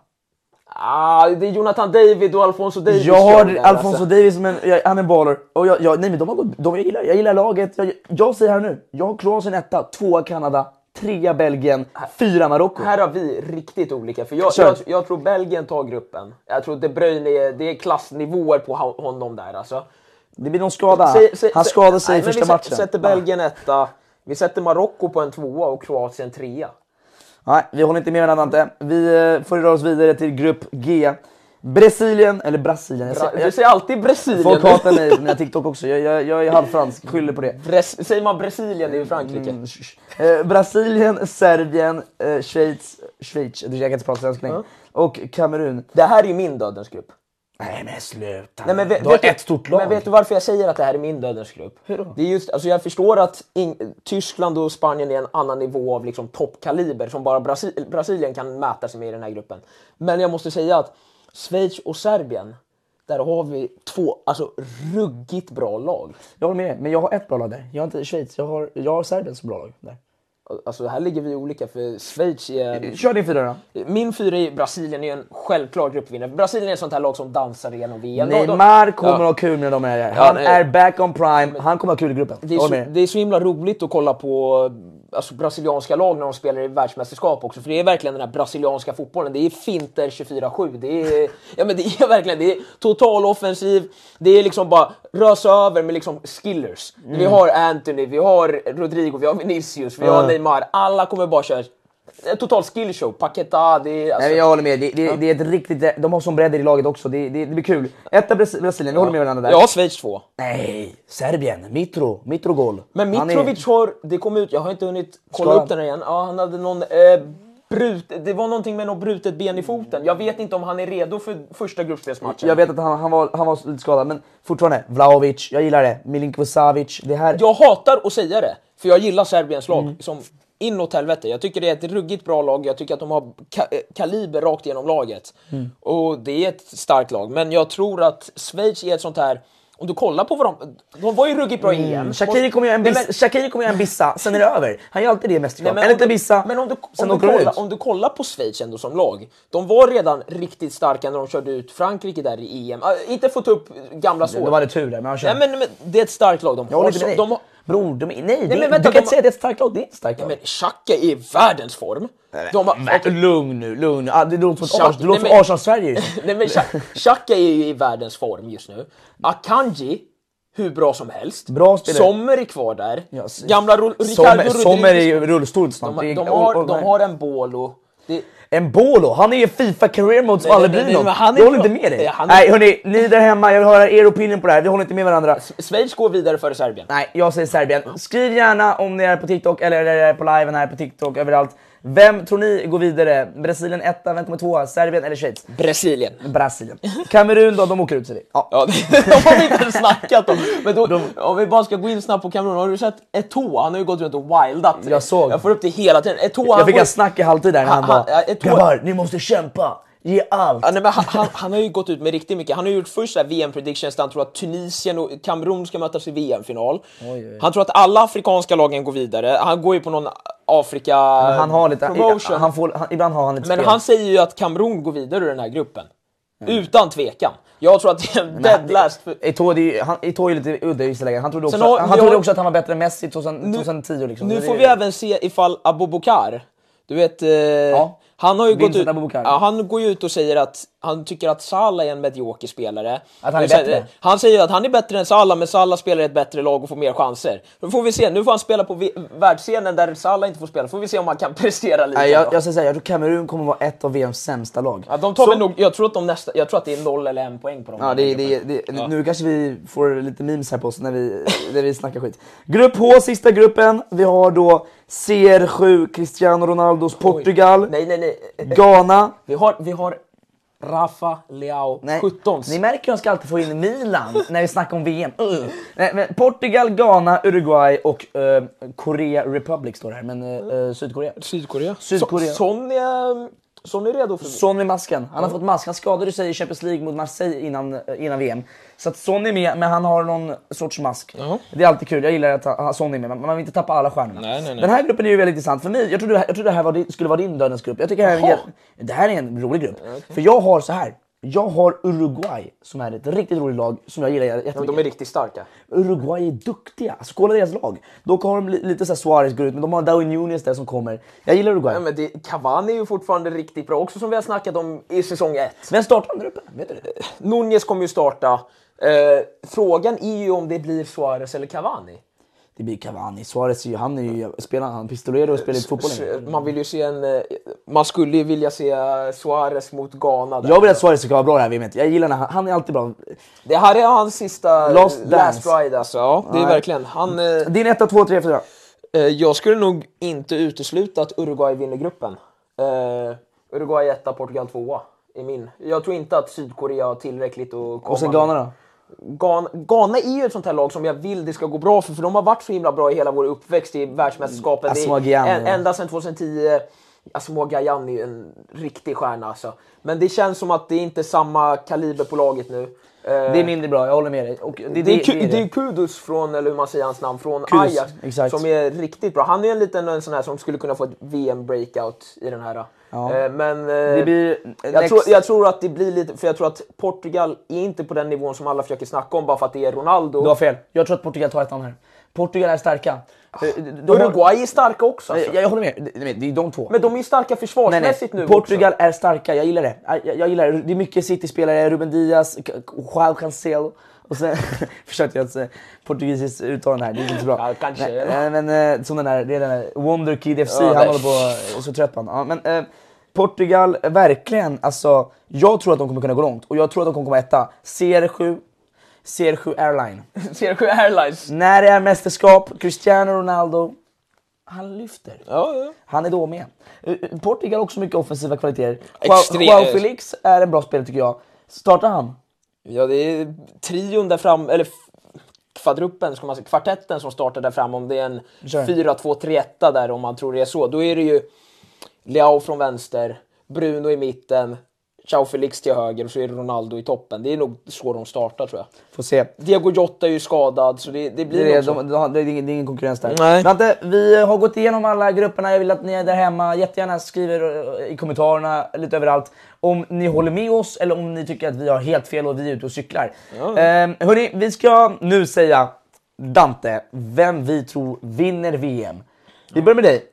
A: Ah, det är Jonathan David och Alfonso Davis.
B: Jag
A: kör
B: har
A: där,
B: Alfonso
A: alltså.
B: Davis som en, jag, han är en baller. Och jag, jag, nej men de har gått, de, jag, gillar, jag gillar laget. Jag, jag säger här nu, jag har Kroatien etta, tvåa Kanada, trea Belgien, fyra Marocko.
A: Här har vi riktigt olika. För jag,
B: Kör.
A: jag, jag tror Belgien tar gruppen. Jag tror De Bruyne är, det är klassnivåer på ho- honom där. Alltså.
B: Det blir någon skada.
A: Säg- säg-
B: han
A: säg-
B: skadade sig i
A: nej, men
B: första
A: vi sä-
B: matchen.
A: sätter Belgien etta, vi sätter Marocko på en tvåa och Kroatien trea.
B: Nej, vi håller inte med varandra Dante. Vi eh, får röra oss vidare till grupp G. Brasilien, eller Brasilien. Jag
A: Bra,
B: säger,
A: du
B: jag,
A: säger alltid Brasilien.
B: folk hatar mig på mina TikTok också. Jag, jag, jag är halvfransk, skyller på det.
A: Bres- säger man Brasilien det är ju Frankrike.
B: Mm, sh- sh. Eh, Brasilien, Serbien, eh, Schweiz, Schweiz, du jag kan inte prata svenska längre. Och Kamerun.
A: Det här är ju min dödens grupp.
B: Nej men sluta.
A: Nej, men vet,
B: du har
A: vet
B: ett stort lag.
A: Men vet du varför jag säger att det här är min dödens grupp? Hur då? Det är just, alltså jag förstår att in, Tyskland och Spanien är en annan nivå av liksom toppkaliber som bara Brasi- Brasilien kan mäta sig med i den här gruppen. Men jag måste säga att Schweiz och Serbien, där har vi två alltså, ruggigt bra lag.
B: Jag håller med dig, men jag har ett bra lag där. Jag har inte Schweiz, jag har, jag har Serbien som bra lag. Där.
A: Alltså här ligger vi olika för Schweiz är...
B: Eh, Kör din fyra då.
A: Min fyra är Brasilien är ju en självklar gruppvinnare. Brasilien är ett sånt här lag som dansar igenom VM. De- de-
B: Neymar kommer
A: Ja.
B: ha kul med de här. Han
A: nej.
B: är back on prime, han kommer ha kul i gruppen.
A: Det är,
B: Jag
A: så,
B: håller med dig.
A: det är så himla roligt att kolla på alltså, brasilianska lag när de spelar i världsmästerskap också. För det är verkligen den här brasilianska fotbollen. Det är finter 24-7. Det är, ja, men det är verkligen det är total offensiv. Det är liksom bara rösa över med liksom skillers.
B: Mm.
A: Vi har Anthony, vi har Rodrigo, vi har Vinicius, vi har Neymar. Alla kommer bara köra en total skillshow. Paqueta, det är... Alltså,
B: Nej, men jag håller med, det, det, det är ett riktigt... De har sån bredd i laget också, det, det, det blir kul. Etta Bras- Brasilien, vi håller med varandra där.
A: jag har Schweiz två.
B: Nej, Serbien, Mitro, Mitrogol.
A: Men
B: Han är-
A: Mitrovic har, det kom ut, jag har inte hunnit kolla
B: Skadan.
A: upp den här igen. Ja, han hade någon eh, brut, det var någonting med något brutet ben i foten. Jag vet inte om han är redo för första gruppspelsmatchen.
B: Jag vet att han, han, var, han var lite skadad, men fortfarande. Vlahovic, jag gillar det. Milinkovic, det här...
A: Jag hatar att säga det, för jag gillar Serbiens lag
B: Mm.
A: som inåt helvete. Jag tycker det är ett ruggigt bra lag, jag tycker att de har ka- eh, kaliber rakt igenom laget.
B: Mm.
A: Och det är ett starkt lag, men jag tror att Schweiz är ett sånt här om du kollar på vad de... De var ju ruggigt bra i EM.
B: Shakiri Mm. kommer göra en,
A: Nej,
B: bis,
A: men-
B: Shakiri kommer göra en bissa, sen är det över. Han gör alltid det i mästerskap. En
A: Nej, men, om
B: liten
A: du,
B: bissa,
A: men om du,
B: sen
A: om,
B: åker
A: du
B: de ut.
A: kollar, om du kollar på Schweiz ändå som lag. De var redan riktigt starka när de körde ut Frankrike där i EM. Äh, inte fått upp gamla sår.
B: De hade tur där, men han kör.
A: Nej, men, men det är ett starkt lag. De
B: jag
A: har
B: håller inte
A: så,
B: med dig.
A: de har,
B: Bror, de, är- nej, det,
A: men
B: du
A: vänta,
B: kan
A: de
B: inte
A: har-
B: säga att det är ett starkt lag. Det är inte ett starkt
A: ja,
B: lag.
A: men Xhaka är i världens form. De har,
B: Nej,
A: okej.
B: Lugn nu, lugn. Ah, det låter som
A: Tjack-
B: Ars- det låter som
A: nej, men-
B: Arsenal-Sverige just nu.
A: Nej, men Xha- Xhaka är ju i världens form just nu. Akanji, hur bra som helst.
B: Bra spelare.
A: Sommer är kvar där.
B: Ja, s-
A: Gamla Ru- Ricardo
B: Sommer, Sommer är
A: Rodriguez.
B: i rullstol snart.
A: De, har-
B: Det är-
A: de,
B: oh,
A: har,
B: oh,
A: de
B: nej.
A: har en Bolo. Det,
B: En Bolo, han är ju Fifa career mode som
A: Nej,
B: aldrig
A: nej,
B: blir
A: nej,
B: någon.
A: men han är
B: Jag håller
A: bra.
B: inte med dig.
A: Ja, han är-
B: Nej hörni, ni där hemma, jag vill höra er opinion på det här. Vi håller inte med varandra.
A: Schweiz går vidare före Serbien.
B: Nej, jag säger Serbien. Skriv gärna om ni är på TikTok eller är på liven här på TikTok överallt. Vem tror ni går vidare? Brasilien etta, vem kommer tvåa? Serbien eller Schweiz?
A: Brasilien.
B: Brasilien. Kamerun då, de åker ut ser vi. Ja.
A: Ja, det de har vi inte ens snackat om. Men då, om vi bara ska gå in snabbt på Kamerun. Har du sett Eto'o? Han har ju gått runt och wildat.
B: Jag såg.
A: Jag får upp det hela tiden. Eto'o,
B: Jag fick
A: går-
B: en snack i halvtid där när han
A: Han- han-
B: bara
A: ett hår-
B: “Grabbar, ni måste kämpa! Ge allt.
A: Ja, nej, men han, han, han har ju gått ut med riktigt mycket. Han har ju gjort först så här VM predictions där han tror att Tunisien och Kamerun ska mötas i VM-final. Han tror att alla afrikanska lagen går vidare. Han går ju på någon Afrika
B: Men han har lite,
A: promotion.
B: han får, han, ibland har han lite
A: men
B: spel.
A: han säger ju att Kamerun går vidare ur den här gruppen. Utan tvekan. Jag tror att det är en dead last. för-
B: Eto'o det är ju- han- Eto'o är ju lite udda i vissa lägen. Han trodde också,
A: Sen har-
B: han
A: vi
B: trodde
A: har-
B: också att han var bättre än Messi 2000, 2010 liksom.
A: Nu
B: Det är-
A: får vi även se ifall Abubakar, du vet, eh, han har ju gått
B: Vincent
A: ut,
B: Aboubakar.
A: ja, han går ju ut och säger att han tycker att Salah är en medioker spelare.
B: Att han är
A: Och så-
B: bättre.
A: eh, Han säger att han är bättre än Salah, men Salah spelar i ett bättre lag och får mer chanser. Nu får vi se, nu får han spela på vi- världsscenen där Salah inte får spela, får vi se om han kan prestera lite.
B: Nej, jag, jag ska säga, jag tror Kamerun kommer vara ett av VMs sämsta lag.
A: ja, de tar väl nog, jag, tror att de nästa, jag tror att det är noll eller en poäng på dem.
B: Ja, det, det, det, Nu kanske vi får lite memes här på oss när vi, när vi snackar skit. Grupp H, sista gruppen. Vi har då CR7, Cristiano Ronaldos Portugal,
A: Nej, nej, nej.
B: Ghana.
A: Vi har, vi har Rafa Leao,
B: Nej,
A: 17.
B: Ni märker hur jag ska alltid få in Milan när vi snackar om VM. Ugh. Nej, men Portugal, Ghana, Uruguay och eh, Korea Republic står det här, men eh, eh, Sydkorea.
A: Sydkorea.
B: Sydkorea.
A: So- Sonny, eh, Sonny är redo för
B: Son med masken. Han har fått mask. Han skadade sig i Champions League mot Marseille innan, innan VM. Så att Son är med, men han har någon sorts mask. Det är alltid kul. Jag gillar att han- Son är med, men man vill inte tappa alla stjärnorna.
A: Nej, nej, nej.
B: Den här gruppen är ju väldigt intressant. För mig, jag trodde, det här- jag trodde det här var, din- skulle vara din dödens grupp. Jag tycker det här, är,
A: Jaha.
B: en- det här är en rolig grupp. För jag har så här. Jag har Uruguay som är ett riktigt roligt lag som jag gillar jättemycket.
A: De är riktigt starka.
B: Uruguay är duktiga. Alltså, kolla deras lag. Dock har de li- lite så här Suarez går ut, men de har Darwin Nunes där som kommer. Jag gillar Uruguay.
A: Ja, men det, Cavani är ju fortfarande riktigt bra, också som vi har snackat om i säsong ett.
B: Vem startar den gruppen? Vet du det?
A: Nunez kommer ju starta. Eh, frågan är ju om det blir Suarez eller Cavani.
B: Det blir Cavani. Suarez är ju, han är ju spelar, han pistolerar och spelar inte fotboll längre.
A: Man vill ju se en... eh, Man skulle ju vilja se Suarez mot Ghana. Där.
B: Jag vill att Suarez ska vara bra det här VMet. Jag gillar när han, han är alltid bra.
A: Det här är hans sista
B: Last
A: last,
B: dance. Mm.
A: ride alltså. Ja, det är verkligen. Han, eh,
B: Din 1, 2, 3, 4.
A: eh, jag skulle nog inte utesluta att Uruguay vinner gruppen. Eh, Uruguay etta, Portugal tvåa. I min. Jag tror inte att Sydkorea har tillräckligt att komma
B: Och sen
A: med.
B: Ghana då?
A: Ghana, Ghana är ju ett sånt här lag som jag vill det ska gå bra för, för de har varit så himla bra i hela vår uppväxt i världsmästerskapet. Det är-
B: Asamoah Gyan,
A: en,
B: ja.
A: Ända sedan 2010. Asamoah Gyan är ju en riktig stjärna alltså. Men det känns som att det är inte samma kaliber på laget nu. Eh,
B: Det är mindre bra, jag håller med dig. Och det, det,
A: Det är,
B: det,
A: ku- det är Kudus från, eller hur man säger hans namn, från
B: Kudus,
A: Ajax.
B: exakt.
A: Som är riktigt bra. Han är en liten en sån här som skulle kunna få ett VM-breakout i den här. Eh, Men eh,
B: blir-
A: jag,
B: next-
A: tror, jag tror att det blir lite, för jag tror att Portugal är inte på den nivån som alla försöker snacka om bara för att det är Ronaldo.
B: Du har fel. Jag tror att Portugal tar ettan här. Portugal är starka. Eh, de- de har-
A: Ah. Uruguay är starka också. Alltså.
B: Jag, jag håller med. Det- Det det är de två.
A: Men de är ju starka
B: Nej, nej.
A: försvarsmässigt nu
B: Portugal är starka, jag gillar det. Jag, jag gillar det. det är mycket City-spelare, Ruben Diaz, K- Joao Cancelo. Och sen försökte jag att säga portugisiskt uttal här, det gick inte så bra.
A: Ja, kanske.
B: Nej, nej, men eh, som den där, det är den där Wonderkid FC,
A: Ja,
B: han
A: nej.
B: håller på, så trött på han. ja, men, eh, Portugal, eh, verkligen alltså. Jag tror att de kommer kunna gå långt och jag tror att de kommer komma etta. CR7, CR7 Airline.
A: Sergio Airlines.
B: När det är mästerskap, Cristiano Ronaldo, han lyfter. Han är då med. Eh, eh, Portugal har också mycket offensiva kvaliteter. Joao-
A: Extre-
B: Joao Felix är en bra spelare tycker jag. Startar han?
A: Ja, det är trion där fram, eller f- kvadruppen, ska man säga, kvartetten som startar där fram. Om det är en
B: Sure.
A: 4-2-3-1 där om man tror det är så, då är det ju Leao från vänster, Bruno i mitten, Ciao Felix till höger och så är det Ronaldo i toppen. Det är nog så de startar tror jag.
B: Får se.
A: Diego Jota är ju skadad så det, det blir
B: Det är,
A: nog så.
B: de, de, har- det är ingen, det är ingen konkurrens där.
A: Nej.
B: Dante, vi har gått igenom alla grupperna. Jag vill att ni där hemma jättegärna skriver eh, i kommentarerna, lite överallt, om ni håller med oss eller om ni tycker att vi har helt fel och vi är ute och cyklar. Ehm, hörni, vi ska nu säga, Dante, vem vi tror vinner VM. Vi börjar med dig.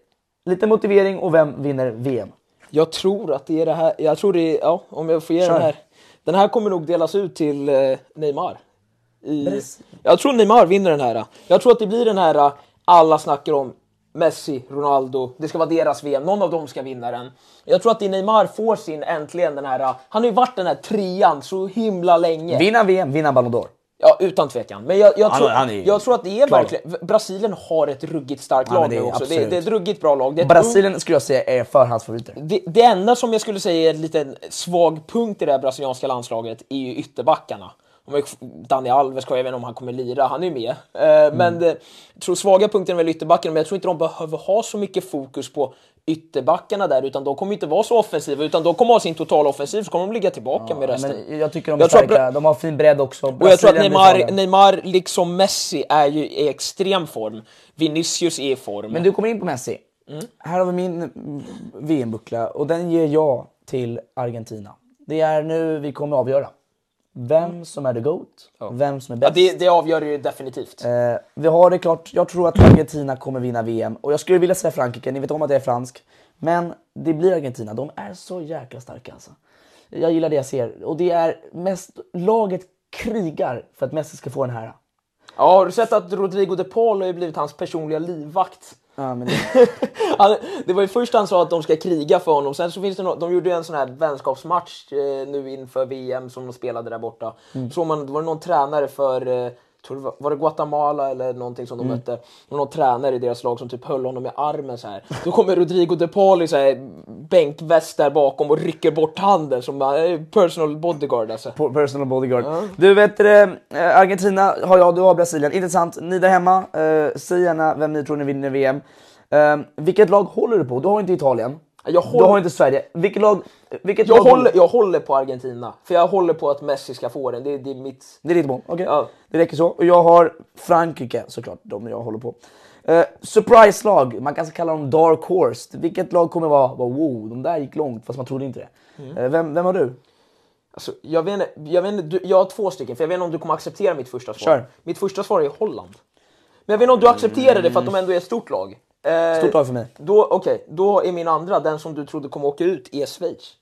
B: Lite motivering och vem vinner VM?
A: Jag tror att det är det här, jag tror det är, ja, om jag får ge
B: Kör.
A: den här. Den här kommer nog delas ut till eh, Neymar. I,
B: Yes.
A: jag tror Neymar vinner den här. Jag tror att det blir den här eh, alla snackar om. Messi, Ronaldo, det ska vara deras VM, någon av dem ska vinna den. Jag tror att det är Neymar får sin äntligen den här, eh, han har ju varit den här trean så himla länge.
B: Vinna VM, vinna Ballon d'Or.
A: Ja, utan tvekan. Men jag, jag,
B: Han-
A: tror,
B: han är ju
A: jag tror att det är
B: klar.
A: verkligen, Brasilien har ett ruggigt starkt
B: Ja, men
A: lag
B: det
A: nu
B: är
A: också. Det,
B: absolut.
A: det är ett ruggigt bra lag. Det är ett ungt
B: Brasilien skulle jag säga är förhandsfavoriter.
A: det, det enda som jag skulle säga är en liten svag punkt i det här brasilianska landslaget är ju ytterbackarna. De har ju- Dani Alves kvar, jag vet inte om han kommer lira, han är ju med. Eh,
F: Mm.
A: Men eh, jag tror svaga punkten är väl ytterbacken, men jag tror inte de behöver ha så mycket fokus på ytterbackarna där, utan de kommer inte vara så offensiva, utan de kommer ha sin totala offensiv, så kommer de ligga tillbaka med resten.
F: Men jag tycker de är
A: Jag tror att
F: starka,
A: Bra-
F: de har fin bredd också.
A: Och jag tror att
F: Brasilien blir
A: Neymar,
F: farliga.
A: Neymar, liksom Messi, är ju i extrem form. Vinicius är i form.
B: Men du kommer in på Messi. Här har vi min mm, VM-buckla och den ger jag till Argentina. Det är nu vi kommer avgöra. Vem som är the GOAT, vem som är
A: ja,
B: bäst.
A: det, det avgör ju definitivt.
B: Eh, vi har det klart. Jag tror att Argentina kommer vinna VM. Och jag skulle vilja säga Frankrike, ni vet om att jag är fransk. Men det blir Argentina. De är så jäkla starka alltså. Jag gillar det jag ser. Och det är mest... Laget krigar för att Messi ska få den här.
A: Ja, har du sett att Rodrigo de Paul har ju blivit hans personliga livvakt?
B: Ja, men det...
A: Han, det var ju först han sa att de ska kriga för honom, sen så finns det no- de gjorde ju en sån här vänskapsmatch eh, nu inför VM som de spelade där borta.
B: Mm.
A: Så man, det var någon tränare för, eh, tror det var, var det Guatemala eller någonting som de
B: Mm.
A: mötte? Och någon tränare i deras lag som typ höll honom i armen så här. Då kommer Rodrigo De Paul i så här bänkväst där bakom och rycker bort handen som eh, personal bodyguard alltså.
B: Po- Personal bodyguard. Du vet det, eh, Argentina har jag, du har Brasilien. Intressant. Ni där hemma, eh, säg gärna vem ni tror ni vinner VM. Eh, vilket lag håller du på? Du har inte Italien.
A: Jag
B: Du
A: håller-
B: har inte Sverige. Vilket lag... Vilket
A: Jag
B: lag
A: håller, jag håller på Argentina, för jag håller på att Messi ska få den. Det, det är mitt...
B: Det är ditt mål? Okej.
A: Ja.
B: Det räcker så. Och jag har Frankrike såklart, de jag håller på. Eh, Surprise-lag, man kan kalla dem dark horse. Vilket lag kommer vara bara, wow, de där gick långt fast man trodde inte det.
A: Mm.
B: Eh, vem, vem har du?
A: Alltså, jag, vet, inte- jag, vet, inte- du, jag har två stycken, för jag vet inte om du kommer acceptera mitt första svar.
B: Kör.
A: Mitt första svar är Holland. Men jag vet inte om du accepterar det för att de ändå är ett stort lag. Eh,
B: Stort lag för mig.
A: Då, okej, då är min andra, den som du trodde kommer åka ut, är Schweiz.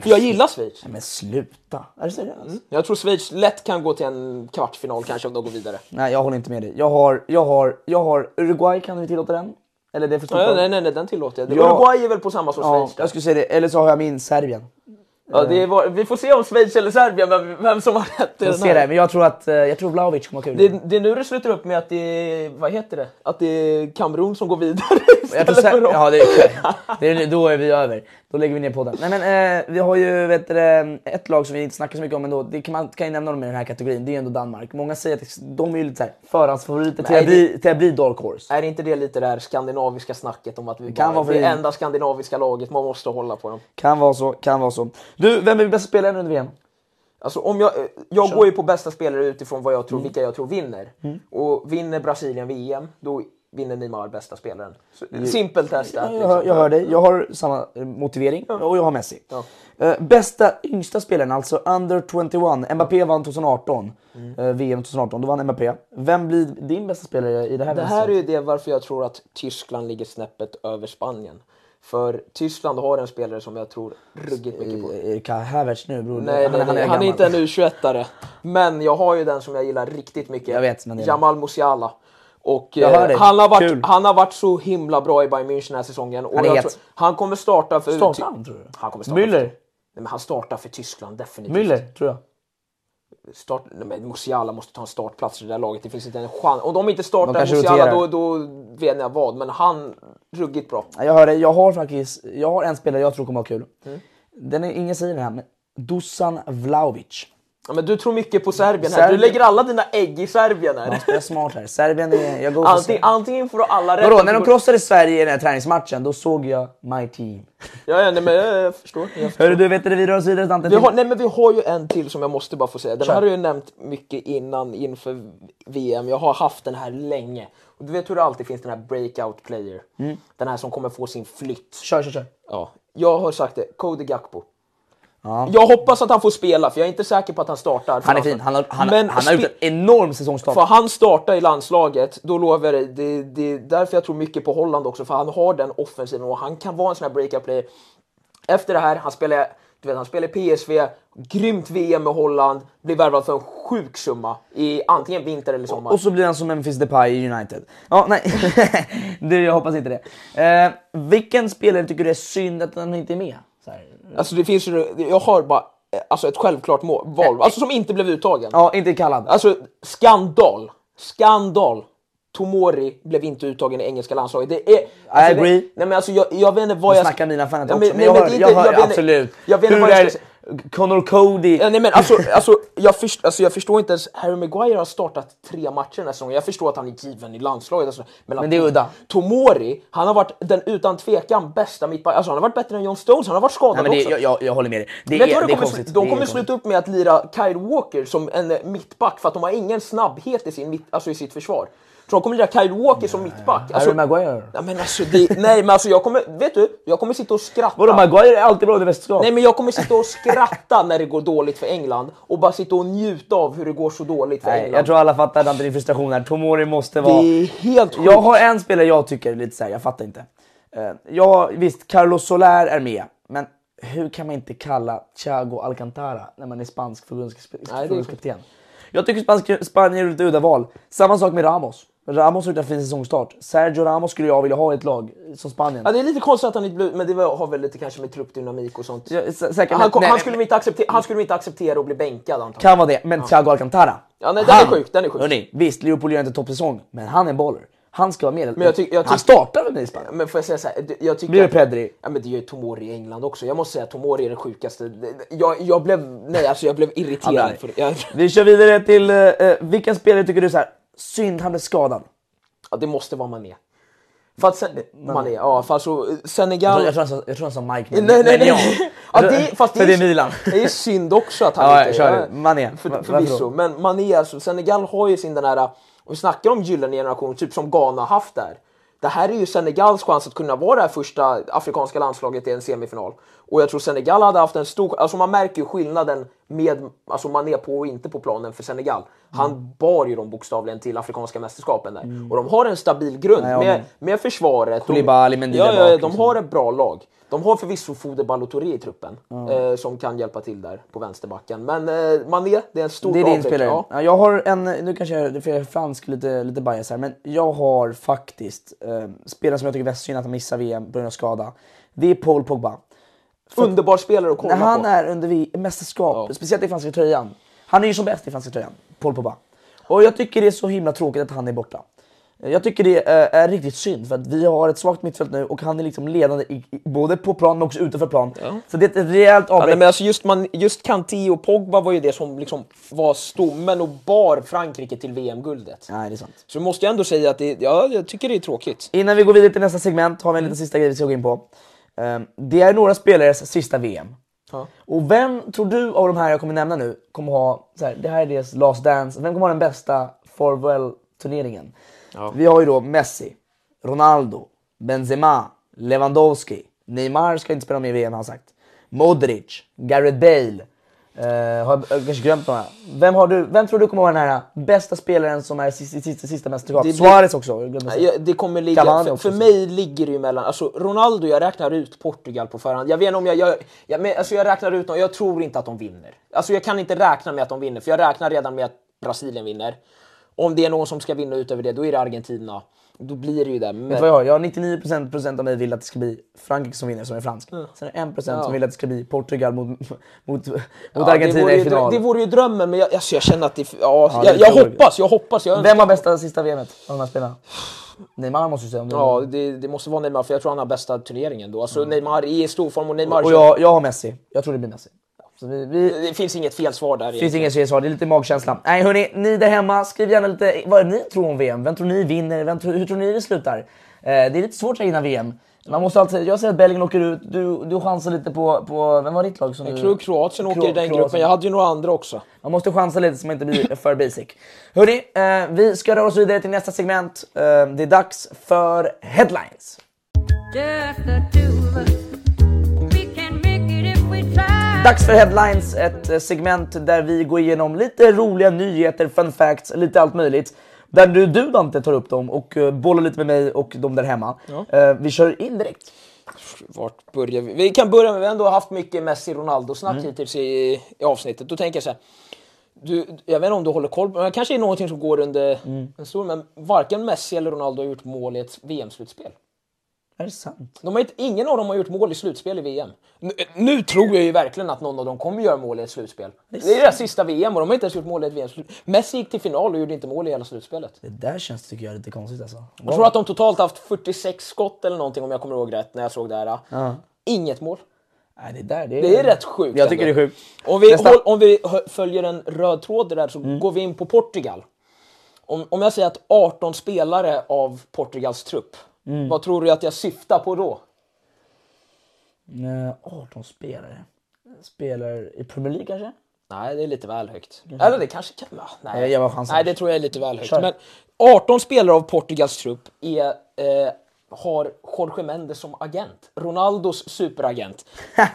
A: För jag gillar Schweiz.
B: Men sluta, är du seriös?
A: Jag tror Schweiz lätt kan gå till en kvartsfinal kanske om de går vidare.
B: Nej, jag håller inte med dig. Jag har, jag har, jag har Uruguay, kan vi tillåta den? Eller det är för stort
A: Nej,
B: lag.
A: nej, nej, nej den tillåter jag.
B: Ja.
A: Uruguay är väl på samma som
B: Ja,
A: Schweiz? där.
B: jag skulle säga det. Eller så har jag min Serbien.
A: ja, det är, var- vi får se om Schweiz eller Serbien, vem, vem som har rätt. i
B: Jag
A: den
B: ser
A: här.
B: det, men jag tror att eh, jag tror Vlahovic kommer ha kul.
A: Det, det är nu det slutar upp med att det är, vad heter det, att det är Kamerun som går vidare
B: Jag
A: istället
B: tror sen,
A: för dem.
B: ja, det är, det är, då är vi över. Då lägger vi ner podden. Nej, men, eh, vi har ju vet du, det, ett lag som vi inte snackar så mycket om ändå. Det kan, man kan ju nämna dem i den här kategorin. Det är ju ändå Danmark. Många säger att de är ju lite så här, förhandsfavoriter till,
A: är
B: att bli- till att bli dark horse.
A: Är inte det lite det här skandinaviska snacket om att vi
B: kan
A: kan
B: vara
A: vara
B: för
A: det
B: det.
A: enda skandinaviska laget, man måste hålla på dem.
B: Kan vara så, kan vara så. Du, vem är bästa spelaren under VM?
A: Alltså, om jag eh, jag går ju på bästa spelare utifrån vad jag
B: Mm.
A: tror, vilka jag tror vinner. Och vinner Brasilien VM, då vinner Neymar bästa spelaren. Så, simpelt test.
B: Ja, Jag hör, jag hör dig. Jag har samma eh, motivering och jag har Messi. Eh, bästa yngsta spelaren, alltså under 21. Mbappé vann 2018.
A: Mm.
B: Eh, VM 2018, då vann Mbappé. Vem blir din bästa spelare i det här
A: Det
B: VM?
A: här är ju det varför jag tror att Tyskland ligger snäppet över Spanien. För Tyskland har en spelare som jag tror ruggigt mycket på.
B: Erik Havertz nu bror.
A: Nej, nej, nej, han, är,
B: gammal.
A: inte en U21-are. Men jag har ju den som jag gillar riktigt mycket.
B: Jag vet, men det är-
A: Jamal Musiala. Och,
B: Jag hör dig.
A: eh, han, har
B: Kul.
A: varit, han har varit så himla bra i Bayern München den här säsongen. Och
B: Han är
A: jag
B: het.
A: tror, han kommer starta för...
B: Startar han, tror du?
A: Han kommer starta
B: Müller?
A: För, nej, men han startar för Tyskland definitivt.
B: Müller, tror jag.
A: Start, nej, men Musiala måste ta en startplats i det där laget. Det finns inte en chans. Om de inte startar
B: De kanske
A: Musiala då,
B: roterar.
A: då vet jag vad. Men han, ruggigt bra.
B: Ja, Jag hör dig. Jag har faktiskt jag har en spelare jag tror kommer ha kul.
A: Mm.
B: Den är, ingen säger den här, men Dusan Vlahovic.
A: Ja, men du tror mycket på Serbien här.
B: Serbien-
A: Du lägger alla dina ägg i Serbien här.
B: Han spelar smart här. Serbien är... Jag går för
A: Antingen,
B: Serbien.
A: antingen får du alla rätt.
B: Vadå,
A: eller
B: när de
A: så går-
B: krossade Sverige i den här träningsmatchen, då såg jag my team.
A: Ja, ja, nej, men eh, jag, jag förstår. Jag förstår.
B: Hörru du, vet du, vi rör oss vidare Dante.
A: Vi har,
B: till-
A: nej, men vi har ju en till som jag måste bara få säga. Den här har jag ju nämnt mycket innan inför VM. Jag har haft den här länge. Och du vet hur det alltid finns den här breakout player. Den här som kommer få sin flytt.
B: Mm. Kör, kör, kör.
A: Ja. Jag har sagt det, Cody Gakpo. Jag hoppas att han får spela, för jag är inte säker på att han startar. för
B: Han är
A: landslaget.
B: fin. Han har, han,
A: Men
B: han har gjort
A: spe-
B: en enorm säsongstart.
A: Får han starta i landslaget, då lovar jag dig, det, det är därför jag tror mycket på Holland också, för han har den offensiven och han kan vara en sån här breakout player. Efter det här, han spelar, du vet, han spelar i PSV, grymt VM med Holland, blir värvad för en sjuk summa i antingen vinter eller sommar.
B: Och så blir han som Memphis Depay i United. Ja, nej. du, jag hoppas inte det. Eh, vilken spelare tycker du är synd att han inte är med? Så här.
A: Alltså det finns ju, jag har bara eh, alltså, ett självklart mål, val, alltså som inte blev uttagen.
B: Ja, inte kallad.
A: Alltså skandal, skandal. Tomori blev inte uttagen i engelska landslaget. Det är, alltså,
B: agree.
A: Det, nej men alltså jag, jag vet inte vad
B: Jag
A: jag...
B: snackar mina fan
A: Nej,
B: också, men jag
A: nej,
B: hör-
A: det är
B: jag hör
A: vet inte-
B: absolut.
A: Jag vet inte
B: Hur
A: vad jag
B: är-
A: ska säga.
B: Connor Cody.
A: Ja, nej, men alltså, alltså, jag först, alltså jag förstår inte ens, Harry Maguire har startat tre matcher den här säsongen. Jag förstår att han är given i landslaget. Alltså, men, att
B: Men det är udda.
A: Tomori, han har varit den utan tvekan bästa mittbacken. Alltså, han har varit bättre än John Stones, han har varit skadad
B: Nej, men det,
A: också.
B: jag, jag, jag håller med dig. Det
A: Vet du
B: är,
A: vad
B: det
A: de
B: är
A: kommer,
B: konstigt.
A: slu- de
B: Det är
A: kommer
B: konstigt.
A: sluta upp med att lira Kyle Walker som en eh, mittback för att de har ingen snabbhet i, sin mitt, alltså i sitt försvar. Så de kommer lira Kyle Walker som mittback. Alltså,
E: Harry Maguire.
A: Ja, men alltså, det, nej men alltså jag kommer, vet du? Jag kommer sitta och skratta.
B: Vadå, Maguire är alltid bra under mästerskap.
A: Nej men jag kommer sitta och skratta när det går dåligt för England och bara sitta och njuta av hur det går så dåligt för
B: Nej,
A: England.
B: jag tror alla fattar Dante din frustration här. Tomori måste vara...
A: Det är helt sjukt.
B: Jag har en spelare jag tycker är lite såhär, jag fattar inte. Eh, Ja, visst, Carlos Soler är med, men hur kan man inte kalla Thiago Alcantara när man är spansk förbundskap-
A: är
B: förbundskapten? Jag tycker spansk, Spanien gjorde ett udda val. Samma sak med Ramos. Ramos har gjort en fin säsongstart. Sergio Ramos skulle jag vilja ha i ett lag som Spanien.
A: Ja, det är lite konstigt att han inte blev, men det var- har väl lite kanske med truppdynamik och sånt.
B: Ja, sä- säkert,
A: han,
B: men-
A: kom,
B: nej,
A: han,
B: nej,
A: skulle
B: men-
A: inte acceptera, han skulle inte acceptera att bli bänkad antagligen.
B: Kan vara det, men Thiago Alcantara.
A: Ja, nej, den är sjuk, den är sjuk.
B: Hörrni, visst, Liverpool gör inte toppsäsong, men han är en baller. Han ska vara med.
A: Men jag tyck- jag
B: han
A: tyck-
B: startar väl med i Spanien?
A: Men får jag säga så här, det- jag tycker...
B: Blir det
A: att-
B: Pedri?
A: Ja men det gör ju Tomori i England också. Jag måste säga att Tomori är den sjukaste. Det- det- Jag, jag blev, nej alltså jag blev
B: Ja,
A: irriterad.
B: nej.
A: för, jag,
B: Vi kör vidare till, eh, eh, vilken spelare tycker du så här? synd han blev skadad?
A: ja, det måste vara Mané. För att sen, Mané, ja för alltså Senegal...
B: Jag tror han sa, jag tror han sa Mike, men,
A: Nej,
B: men
A: nej, nej. Ja,
B: jag.
A: det, fast det,
B: Alltså, För det är Milan.
A: Det är synd också att han
B: Ja,
A: inte...
B: kör du. Mané.
A: För,
B: Va- varför då?
A: förvisso. Men Mané, alltså, Senegal har ju sin den här... Om vi snackar om gyllene generation, typ som Ghana haft där. Det här är ju Senegals chans att kunna vara det här första afrikanska landslaget i en semifinal. Och jag tror Senegal hade haft en stor... Alltså man märker ju skillnaden med alltså Mané på och inte på planen för Senegal. Han
B: Mm.
A: bar ju dem bokstavligen till afrikanska mästerskapen där. Och de har en stabil grund
B: Nej, ja,
A: med,
B: men-
A: med försvaret. och-
B: Koulibaly, Mendy
A: ja,
B: där
A: ja,
B: bak,
A: de
B: liksom.
A: har har ett bra lag. De har förvisso Fode Balotelli i truppen eh, som kan hjälpa till där på vänsterbacken. Men eh, Mané, det är en stor
B: Det är din
A: avbräck,
B: spelare.
A: Ja.
B: Ja, jag har en, nu kanske jag är för jag är fransk lite, lite bias här, men jag har faktiskt eh, spelare som jag tycker är mest synd att han missar VM på grund av skada. Det är Paul Pogba.
A: Underbar spelare att kolla
B: När han
A: på.
B: är under vi- mästerskap, speciellt i franska tröjan. Han är ju som bäst i franska tröjan, Paul Pogba. Och jag tycker det är så himla tråkigt att han är borta. Jag tycker det eh, är riktigt synd för att vi har ett svagt mittfält nu och han är liksom ledande i, i, både på plan men också utanför plan. Så det är ett rejält
A: Ja, nej,
B: avbräck.
A: men alltså just, man, just Kanté och Pogba var ju det som liksom var stommen och bar Frankrike till VM-guldet.
B: Nej, det är sant.
A: Så måste jag ändå säga att det, ja, jag tycker det är tråkigt.
B: Innan vi går vidare till nästa segment har vi en
A: Mm.
B: liten sista grej vi ska gå in på. Eh, Det är några spelares sista VM.
A: Ja.
B: Och vem tror du av de här jag kommer nämna nu kommer ha, så här, det här är deras last dance, vem kommer ha den bästa farewell turneringen? Vi har ju då Messi, Ronaldo, Benzema, Lewandowski, Neymar ska inte spela med i VM har han sagt. Modric, Gareth Bale. Eh, har jag jag kanske glömt några. Vem, har du, vem tror du kommer vara den här bästa spelaren som är sista, sista, sista mästerskap?
A: Det blir-
B: Suarez också, jag glömde säga.
A: Ja, det kommer ligga,
B: Cavani
A: för,
B: också,
A: för
B: så.
A: mig ligger det ju mellan, alltså Ronaldo, jag räknar ut Portugal på förhand. Jag vet inte om jag, jag, jag, men, alltså, jag räknar ut dem, jag tror inte att de vinner. Alltså jag kan inte räkna med att de vinner, för jag räknar redan med att Brasilien vinner. Om det är någon som ska vinna utöver det, då är det Argentina. Då blir det ju det.
B: Vet
A: Men,
B: du vad jag har? Jag har 99% procent av mig vill att det ska bli Frankrike som vinner som är fransk. Sen är det 1%
A: Ja.
B: som vill att det ska bli Portugal mot, mot, mot
A: Ja, det
B: Argentina
A: vore
B: i
A: ju,
B: final.
A: Det vore ju drömmen, men jag, alltså, jag känner att det, ja,
B: det
A: jag, jag
B: tror jag.
A: hoppas, jag hoppas. Jag
B: Vem har bästa sista VMet av de här spelarna? Neymar måste ju säga om det.
A: Ja, det, det måste vara Neymar, för jag tror han har bästa turneringen då. Alltså Neymar är i storform och Neymar...
B: Mm. Och jag, jag har Messi. Jag tror det blir Messi. Så vi, vi,
A: Det finns inget fel svar där.
B: det finns ingen svar, det är lite magkänsla. Nej hörni, ni där hemma, skriv gärna lite vad ni tror om VM. Vem tror ni vinner? Vem tror, hur tror ni det slutar? Eh, det är lite svårt så här innan VM. Man måste alltid, jag säger att Belgien åker ut, du, du chansar lite på, på, vem var ditt lag som
A: Jag
B: du...
A: tror Eh, Kroatien åker i den
B: Kroatien.
A: gruppen. Jag hade ju några andra också.
B: Man måste chansa lite så man inte blir för basic. Hörni, eh, vi ska röra oss vidare till nästa segment. Eh, det är dags för headlines.
D: Just the two of us. We can make it if we try.
B: Dags för headlines, ett eh, segment där vi går igenom lite roliga nyheter, fun facts, lite allt möjligt. Där du, du Dante tar upp dem och eh, bollar lite med mig och de där hemma. Eh, vi kör in direkt.
A: Vart börjar vi? Vi kan börja med, vi har ändå haft mycket Messi-Ronaldo-snack hittills i, i avsnittet. Då tänker jag så här. Du, jag vet inte om du håller koll på men det kanske är någonting som går under en stor, men varken Messi eller Ronaldo har gjort mål i ett VM-slutspel.
B: Är det sant?
A: De har inte, ingen av dem har gjort mål i slutspel i VM. Nu, nu tror jag ju verkligen att någon av dem kommer göra mål i ett slutspel. Det är deras sista VM och de har inte ens gjort mål i ett VM. Messi gick till final och gjorde inte mål i hela slutspelet.
B: Det där känns tycker jag lite konstigt alltså.
A: Jag tror att de totalt haft 46 skott eller någonting om jag kommer ihåg rätt när jag såg det här. Inget mål.
B: Nej, det, där, det,
A: Det är rätt sjukt.
G: Jag tycker det är
A: ändå.
G: sjukt.
A: Om vi,
G: Nästa. Mm.
A: håll, om vi hö- följer en röd tråd där så går vi in på Portugal. Om, om jag säger att 18 spelare av Portugals trupp,
G: Mm.
A: vad tror du att jag syftar på då?
B: Eh, 18 spelare. Spelar i Premier League kanske?
A: Nej, det är lite väl högt. Eller det kanske kan vara.
B: Nej,
A: Nej.
B: jag var chansen.
A: Nej, det tror jag är lite väl högt.
B: Kör.
A: Men 18 spelare av Portugals trupp är, eh, har Jorge Mendes som agent. Ronaldos superagent.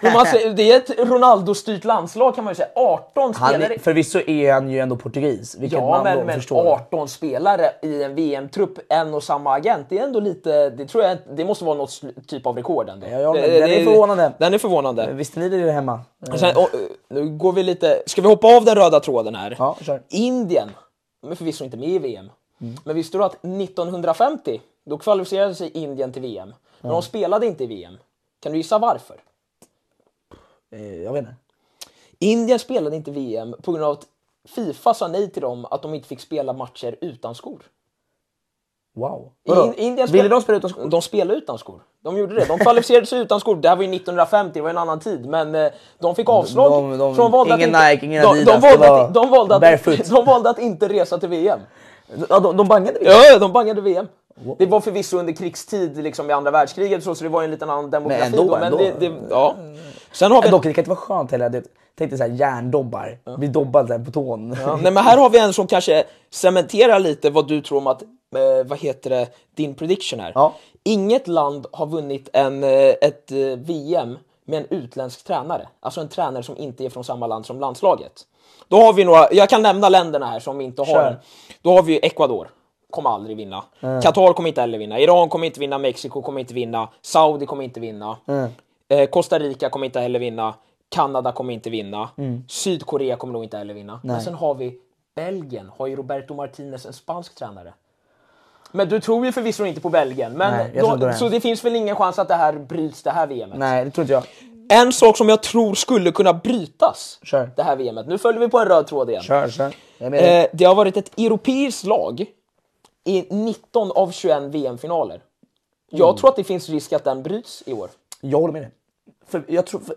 A: Men man säger, det är ett Ronaldo-styrt landslag kan man ju säga. 18
B: han
A: spelare.
B: är, förvisso är han ju ändå portugis, vilket
A: Ja,
B: man
A: men,
B: då
A: men
B: förstår.
A: 18 spelare i en VM-trupp, en och samma agent. Det är ändå lite... Det, tror jag, det måste vara något sl- typ av rekord ändå.
B: Ja, ja, men
A: Det-
B: den
A: det-
B: är förvånande.
A: Den är förvånande.
B: Visste ni det hemma?
A: Och Sen, och, eh, nu går vi lite... Ska vi hoppa av den röda tråden här?
B: Ja, kör. Mm.
A: Indien, de är förvisso inte med i VM. Men visste du att 1950, då kvalificerade sig Indien till VM. Men de spelade inte i VM. Kan du gissa varför?
B: Eh, Jag vet inte.
A: Indien spelade inte VM på grund av att Fifa sa nej till dem att de inte fick spela matcher utan skor.
B: Wow.
A: In,
B: Vadå?
A: Indien
B: Ville de spela utan skor?
A: De spelade utan skor. De gjorde det. De kvalificerade sig utan skor. Det här var ju 1950, det var en annan tid. Men eh, de fick avslag.
B: De- de-
A: så de valde
B: ingen
A: att inte,
B: Nike, ingen
A: de, de,
B: Adidas, det
A: valde
B: var
A: att, de, valde att,
B: barefoot.
A: de valde att inte resa till VM.
B: Ja, de, de bangade det.
A: Ja, ja, de bangade VM. Det var förvisso under krigstid liksom, i andra världskriget, så, så det var ju en liten annan demografi
B: Men ändå,
A: då. Men
B: ändå.
A: Det, det, ja. Sen har vi
B: Men Äh, Dock, det kan inte vara skönt heller. Du tänkte såhär järndobbar, blir dobbad så här på tån.
A: Ja, nej, men här har vi en som kanske cementerar lite vad du tror om att, eh, vad heter det, din prediction här.
B: Ja.
A: Inget land har vunnit en, eh, ett eh, VM med en utländsk tränare. Alltså en tränare som inte är från samma land som landslaget. Då har vi några, jag kan nämna länderna här som inte har
B: Kör.
A: en. Då har vi ju Ecuador. Kommer aldrig vinna. Qatar kommer inte heller vinna. Iran kommer inte vinna. Mexiko kommer inte vinna. Saudi kommer inte vinna. Eh, Costa Rica kommer inte heller vinna. Kanada kommer inte vinna. Sydkorea kommer nog inte heller vinna. Men sen har vi Belgien. Har ju Roberto Martinez en spansk tränare? Men du tror ju förvisso inte på Belgien. Men
B: Nej, jag tror inte
A: då,
B: det.
A: så det finns väl ingen chans att det här bryts det här VMet?
B: Nej, det tror inte jag.
A: En sak som jag tror skulle kunna brytas
B: Kör.
A: det här VMet. Nu följer vi på en röd tråd igen.
B: Kör, kör. Jag är med dig.
A: Eh, det har varit ett europeiskt lag i 19 av 21 VM-finaler.
B: Mm.
A: Jag tror att det finns risk att den bryts i år.
B: Jag håller med dig. För jag tror... För,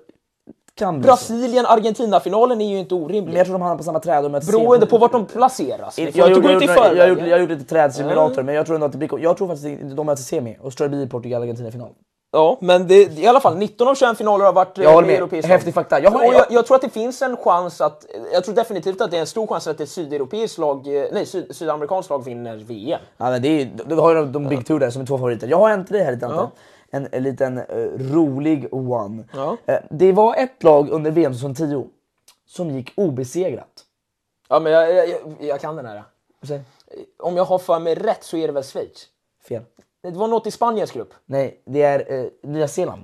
B: kan bli så.
A: Brasilien-Argentina-finalen är ju inte
B: Men
A: orimlig.
B: jag tror de hamnar på samma träd och möts
A: Beroende
B: sent.
A: på vart de placeras. Vi
B: Jag,
A: får inte gå
B: gjorde,
A: ut i
B: jag, jag, gjorde, jag
A: förväg.
B: gjorde Mm. lite trädsimulator, men jag tror ändå att det blir... Jag tror faktiskt att de möts i semi E och så tror jag det blir Portugal-Argentina-final.
A: Ja, men det, i alla fall 19 av 21 finaler har varit eh,
B: Jag håller med.
A: europeiska.
B: Häftig fakta. Jag
A: Och
B: håller med.
A: jag, jag tror att det finns en chans att... Jag tror definitivt att det är en stor chans att ett sydeuropeiskt lag, eh, nej, syd, sydamerikanskt lag vinner VM.
B: Ja, men det är, ju- du har ju de, de Big Two där som är två favoriter. Jag har en till dig här lite Ante. En, en liten eh, rolig one.
A: Ja.
B: Eh, det var ett lag under VM 2010 som gick obesegrat.
A: Ja, men jag, jag, jag, jag kan den här. Eh,
B: Säg.
A: Om jag har för mig rätt så är det väl Schweiz?
B: Fel.
A: Det var något i Spaniens grupp.
B: Nej, det är eh, Nya Zeeland.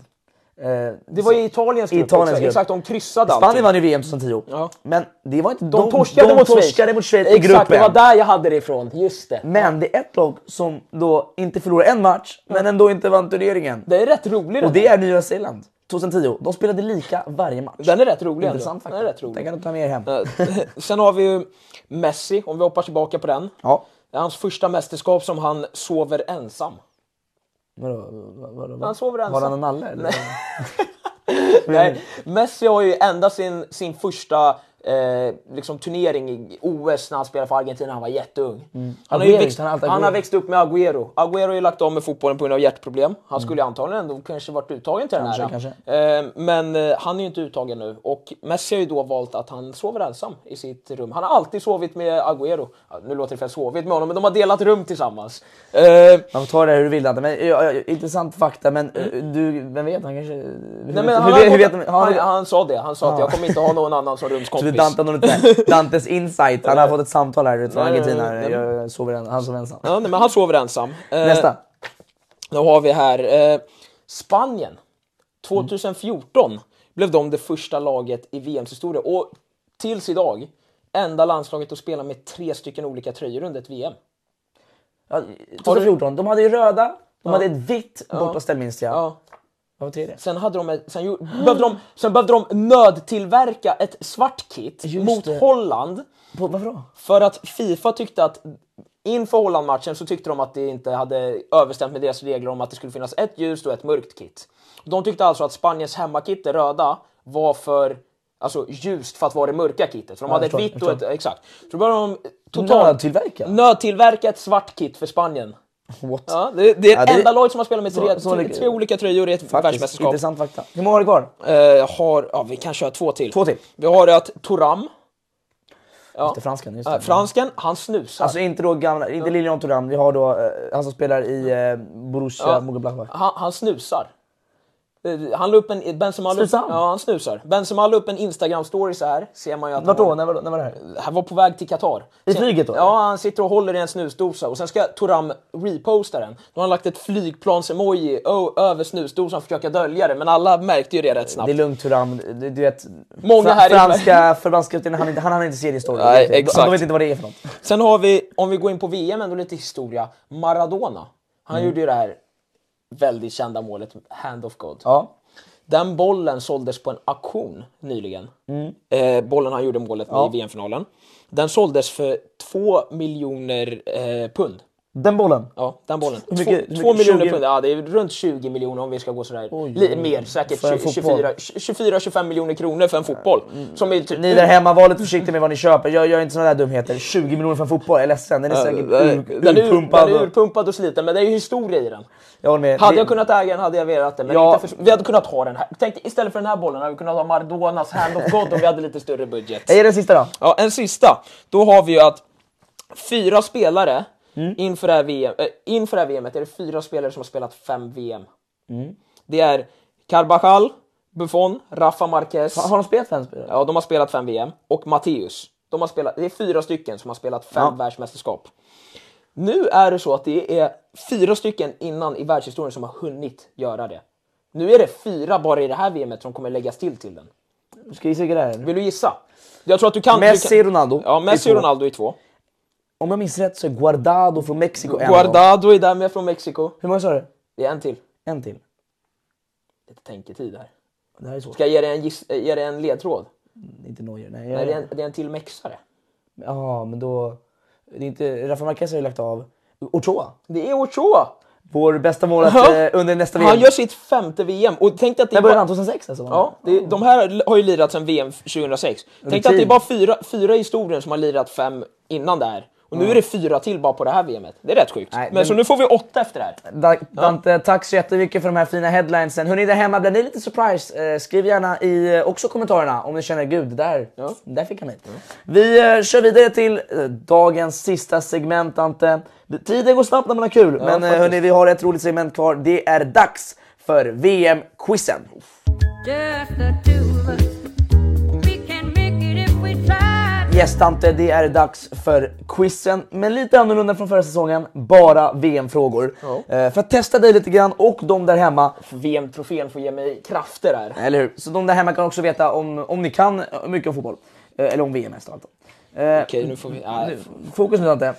B: Eh,
A: Det var i Italiens grupp.
B: Italiens
A: exakt,
B: grupp.
A: exakt, de kryssade allting.
B: Spanien vann ju VM 2010.
A: Ja.
B: Men det var inte
A: De, torskade,
B: de
A: mot,
B: torskade
A: Schweiz.
B: mot Schweiz i
A: Exakt,
B: gruppen.
A: det var där jag hade det ifrån. Just det.
B: Men det är ett lag som då inte förlorade en match, men ändå inte vann turneringen.
A: Det är rätt rolig
B: Och
A: den.
B: det är Nya Zeeland 2010. De spelade lika varje match.
A: Den är rätt rolig ändå.
B: Intressant
A: Den är rätt rolig.
B: Den kan du ta med er hem.
A: Eh, Sen har vi ju Messi, om vi hoppar tillbaka på den.
B: Ja.
A: Det är hans första mästerskap som han sover ensam.
B: Vadå? Vadå? vadå?
A: Han sover ensam.
B: Var han en nalle? eller? Mm.
A: Nej, Messi har ju ända sin, sin första eh, liksom turnering i OS när han spelade för Argentina, han var jätteung. Han, har
B: Mm.
A: ju
B: Aguero,
A: växt,
B: han har
A: han,
B: alltid
A: har
B: Aguero.
A: växt upp med Agüero. Agüero har ju lagt av med fotbollen på grund av hjärtproblem. Han skulle ju antagligen ändå kanske varit uttagen till
B: Kanske,
A: den här.
B: Mm. kanske.
A: Eh, men eh, han är ju inte uttagen nu och Messi har ju då valt att han sover ensam i sitt rum. Han har alltid sovit med Agüero. Ja, nu låter det för sovit med honom, men de har delat rum tillsammans. Eh,
B: Man får ta det hur du vill Dante. Men, ja, ja, intressant fakta men eh, du, vem vet han kanske...
A: Nej,
B: hur,
A: men
B: hur,
A: han,
B: hur,
A: har
B: vet
A: gått,
B: han?
A: han,
B: han,
A: han sa det, han sa att jag kommer inte ha någon annan
B: så
A: som
B: det är
A: rumskompis.
B: Dante, han har inte- Dantes insight, han har fått ett samtal här från
A: Nej, nej, nej,
B: Argentina.
A: Eh, nej. Eh,
B: Jag sover en- Han sover ensam.
A: Ja, nej, men han sover ensam. Eh,
B: Nästa.
A: Då har vi här eh, Spanien. 2014 blev de det första laget i VMs historia och tills idag enda landslaget att spela med tre stycken olika tröjor under ett VM.
B: Ja, 2014, de hade ju röda, de hade ett vitt bortaställ minns jag.
A: Ja.
B: Vad var tredje?
A: Sen, hade de, ett- sen, gjorde, behövde de, sen behövde de nödtillverka ett svart kit
B: Just
A: mot
B: det.
A: Holland
B: På, varför då?
A: för att Fifa tyckte att Inför Holland-matchen så tyckte de att det inte hade överstämt med deras regler om att det skulle finnas ett ljust och ett mörkt kit. De tyckte alltså att Spaniens hemmakit, det röda, var för alltså, ljust för att vara det mörka kitet. För de
B: Ja,
A: hade
B: jag
A: ett
B: förstår,
A: vitt och
B: jag
A: ett... Exakt. Så då började de totalt...
B: Nödtillverka?
A: Nödtillverka ett svart kit för Spanien.
B: What?
A: Ja, det, det är
B: Ja,
A: det
B: det-
A: enda lag som har spelat med tre,
B: Så- så
A: tre,
B: ligger-
A: tre olika tröjor i ett
B: Faktiskt,
A: världsmästerskap.
B: intressant fakta. Hur många har du kvar?
A: Eh, har, ja, vi kan köra två till.
B: Två till.
A: Vi har att Toram,
B: Just det, fransken, just
A: eh,
B: det.
A: fransken, han snusar.
B: Alltså inte då gamla, inte Lilian Thuram, vi har då eh, han som spelar i eh, Borussia
A: Ja.
B: Mönchengladbach.
A: han, han snusar. Eh, Han la upp en... Benzema la upp,
B: Snusar han?
A: ja, han snusar. Benzema la upp en Instagram-story så här. Ser man ju att
B: Vart
A: han
B: då?
A: var,
B: När var, när var det här?
A: han var på väg till Qatar.
B: I flyget då,
A: Ja, han sitter och håller i en snusdosa och sen ska Toram reposta den. Då har han lagt ett flygplans-emoji ö- över snusdosan för att försöka dölja det, men alla märkte ju det rätt snabbt.
B: Det är lugnt Thuram, du, du vet.
A: Många här i-
B: franska förbundskaptenen, han, inte- han hann inte se din story.
A: Nej,
B: De-
A: exakt.
B: De vet inte vad det är för något.
A: Sen har vi, om vi går in på VM, ändå lite historia. Maradona. Han
B: Mm.
A: gjorde ju det här väldigt kända målet, Hand of God.
B: Ja.
A: Den bollen såldes på en auktion nyligen.
B: Mm.
A: Eh, bollen han gjorde målet med i VM-finalen. Den såldes för 2 miljoner eh, pund.
B: Den bollen.
A: Ja, den bollen.
B: Hur mycket-
A: Två-
B: hur
A: två
B: mycket?
A: miljoner
B: 20?
A: pund. Ja, det är runt 20 miljoner om vi ska gå sådär.
B: Oj,
A: Li-
B: oj,
A: mer,
B: oj.
A: säkert
B: För en
A: 20
B: fotboll. Mm.
A: 24 24-25 miljoner kronor för en fotboll. Som är typ...
B: Ni där hemma, var lite försiktiga med vad ni köper. Jag gör inte sådana där dumheter. 20 miljoner för en fotboll, jag är ledsen. Den är
A: Eh,
B: säkert ur,
A: den är
B: urpumpad.
A: urpumpad, den är
B: och-
A: urpumpad och sliten, men det är ju historia i den.
B: Jag håller med.
A: Hade
B: Det-
A: jag kunnat äga den hade jag velat det, men
B: Ja.
A: inte för, vi hade kunnat ha den här. Tänk, istället för den här bollen hade vi kunnat ha Maradonas Hand of God om vi hade lite större budget.
B: Är det sista då?
A: Ja, en sista. Då har vi ju att fyra spelare
B: Mm.
A: inför, det här VM, äh, inför det här VMet är det fyra spelare som har spelat fem VM.
B: Mm.
A: Det är Carbajal, Buffon, Rafa Marquez.
B: Har de spelat fem spelare?
A: Ja, de har spelat fem VM. Och Matteus. De har spelat, det är fyra stycken som har spelat fem världsmästerskap. Nu är det så att det är fyra stycken innan i världshistorien som har hunnit göra det. Nu är det fyra bara i det här VMet som kommer läggas till till den.
B: Ska vi se vilka det är?
A: Vill du gissa? Jag tror att du kan...
B: Messi
A: du
B: och
A: kan,
B: Ronaldo.
A: Ja, Messi
B: i
A: och
B: två.
A: Ronaldo i två.
B: Om jag minns rätt så är Guardado från Mexiko en av dem.
A: Guardado är där med från Mexiko.
B: Hur många sa du?
A: Det är en till.
B: En till.
A: Lite tänketid här.
B: Det här är svårt.
A: Ska jag ge dig en, giss, eh, ge dig en ledtråd?
B: Inte Neuer. Nej,
A: Nej,
B: jag...
A: det är en, det är en till mexare.
B: Ja, men då... Det är inte... Rafa Marquez har ju lagt av. Ochoa.
A: Det är Ochoa!
B: Vår bästa målvakt
A: Ja.
B: eh, under nästa VM.
A: Han gör sitt femte VM och tänk dig att det
B: När
A: är
B: började
A: bara...
B: han? 2006 alltså?
A: Ja, det, är- de här har ju lirat sedan VM 2006. Tänk dig att det är
B: Rutin.
A: bara fyra, fyra i historien som har lirat fem innan det här. Och nu är det fyra till bara på det här VMet. Det är rätt sjukt.
B: Nej,
A: men,
B: men-
A: så nu får vi åtta efter det här.
B: Da- Dante, tack så jättemycket för de här fina headlinesen. Hörni där hemma, blev ni lite surprise? Eh, skriv gärna i eh, också kommentarerna om ni känner gud, där, där fick han hit. Vi eh, kör vidare till eh, dagens sista segment Dante. Tiden går snabbt när man har kul, men eh,
A: faktiskt.
B: hörni vi har ett roligt segment kvar. Det är dags för VM-quizen.
C: Just the two of us. We can make it if we try.
B: Yes Dante, det är dags för quizen, men lite annorlunda från förra säsongen. Bara VM-frågor. Eh, för att testa dig lite grann och de där hemma.
A: VM-trofén får ge mig krafter här.
B: Eller hur? Så de där hemma kan också veta om, om ni kan eh, mycket om fotboll. Eh, Eller om VM mest av allt. Eh,
A: Okej, nu får vi... ja,
B: Fokus nu Dante.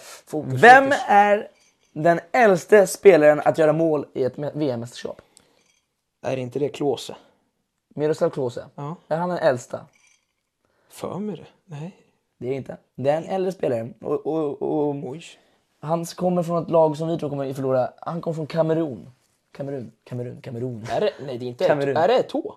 B: Vem är den äldste spelaren att göra mål i ett me- VM-mästerskap?
A: är inte det Klose?
B: Miroslav Klose.
A: Ja.
B: Är han den äldsta?
A: För mig det? Nej.
B: Det är inte. Det är en äldre spelare. Och, och, och,
A: Oj.
B: han kommer från ett lag som vi tror kommer förlora. Han kommer från Kamerun. Kamerun, Kamerun, Kamerun.
A: Är det, nej, det är inte
B: Kamerun.
A: Är det Eto'o?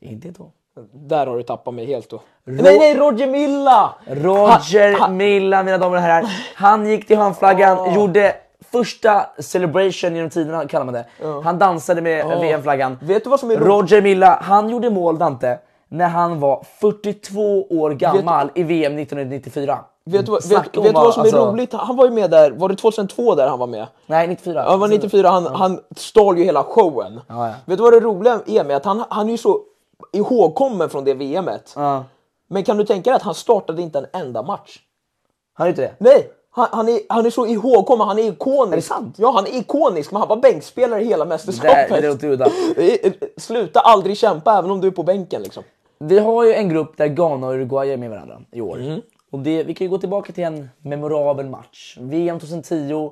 B: Inte då.
A: Där har du tappat mig helt då. nej, nej, Roger Milla!
B: Roger
A: Ha- Ah. ha-
B: Milla, mina damer och herrar. Han gick till hörnflaggan, gjorde första celebration genom tiderna, kallar man det. Han dansade med VM-flaggan.
A: Ah. Vet du vad som är roligt?
B: Roger Milla, han gjorde mål, Dante, när han var 42 år gammal i VM 1994.
A: Vet du, vad-
B: Snacka
A: vet, vet
B: om
A: du vad som är
B: alltså-
A: roligt? Han var ju med där, var det 2002 där han var med?
B: Nej, 94.
A: Ja, det var 94, han, han stal ju hela showen.
B: Ja, ja.
A: Vet du vad det roliga är med att han, han är ju så ihågkommen från det VMet.
B: Ja.
A: Men kan du tänka dig att han startade inte en enda match?
B: Han gjorde inte det.
A: Nej! Han, han, är, han är så ihågkommen, han är ikonisk.
B: Är det sant?
A: Ja, han är ikonisk, men han var bänkspelare i hela mästerskapet.
B: det låter udda.
A: Eh, eh, Sluta aldrig kämpa även om du är på bänken liksom.
B: Vi har ju en grupp där Ghana och Uruguay är med varandra i år. Och det, vi kan ju gå tillbaka till en memorabel match. VM 2010,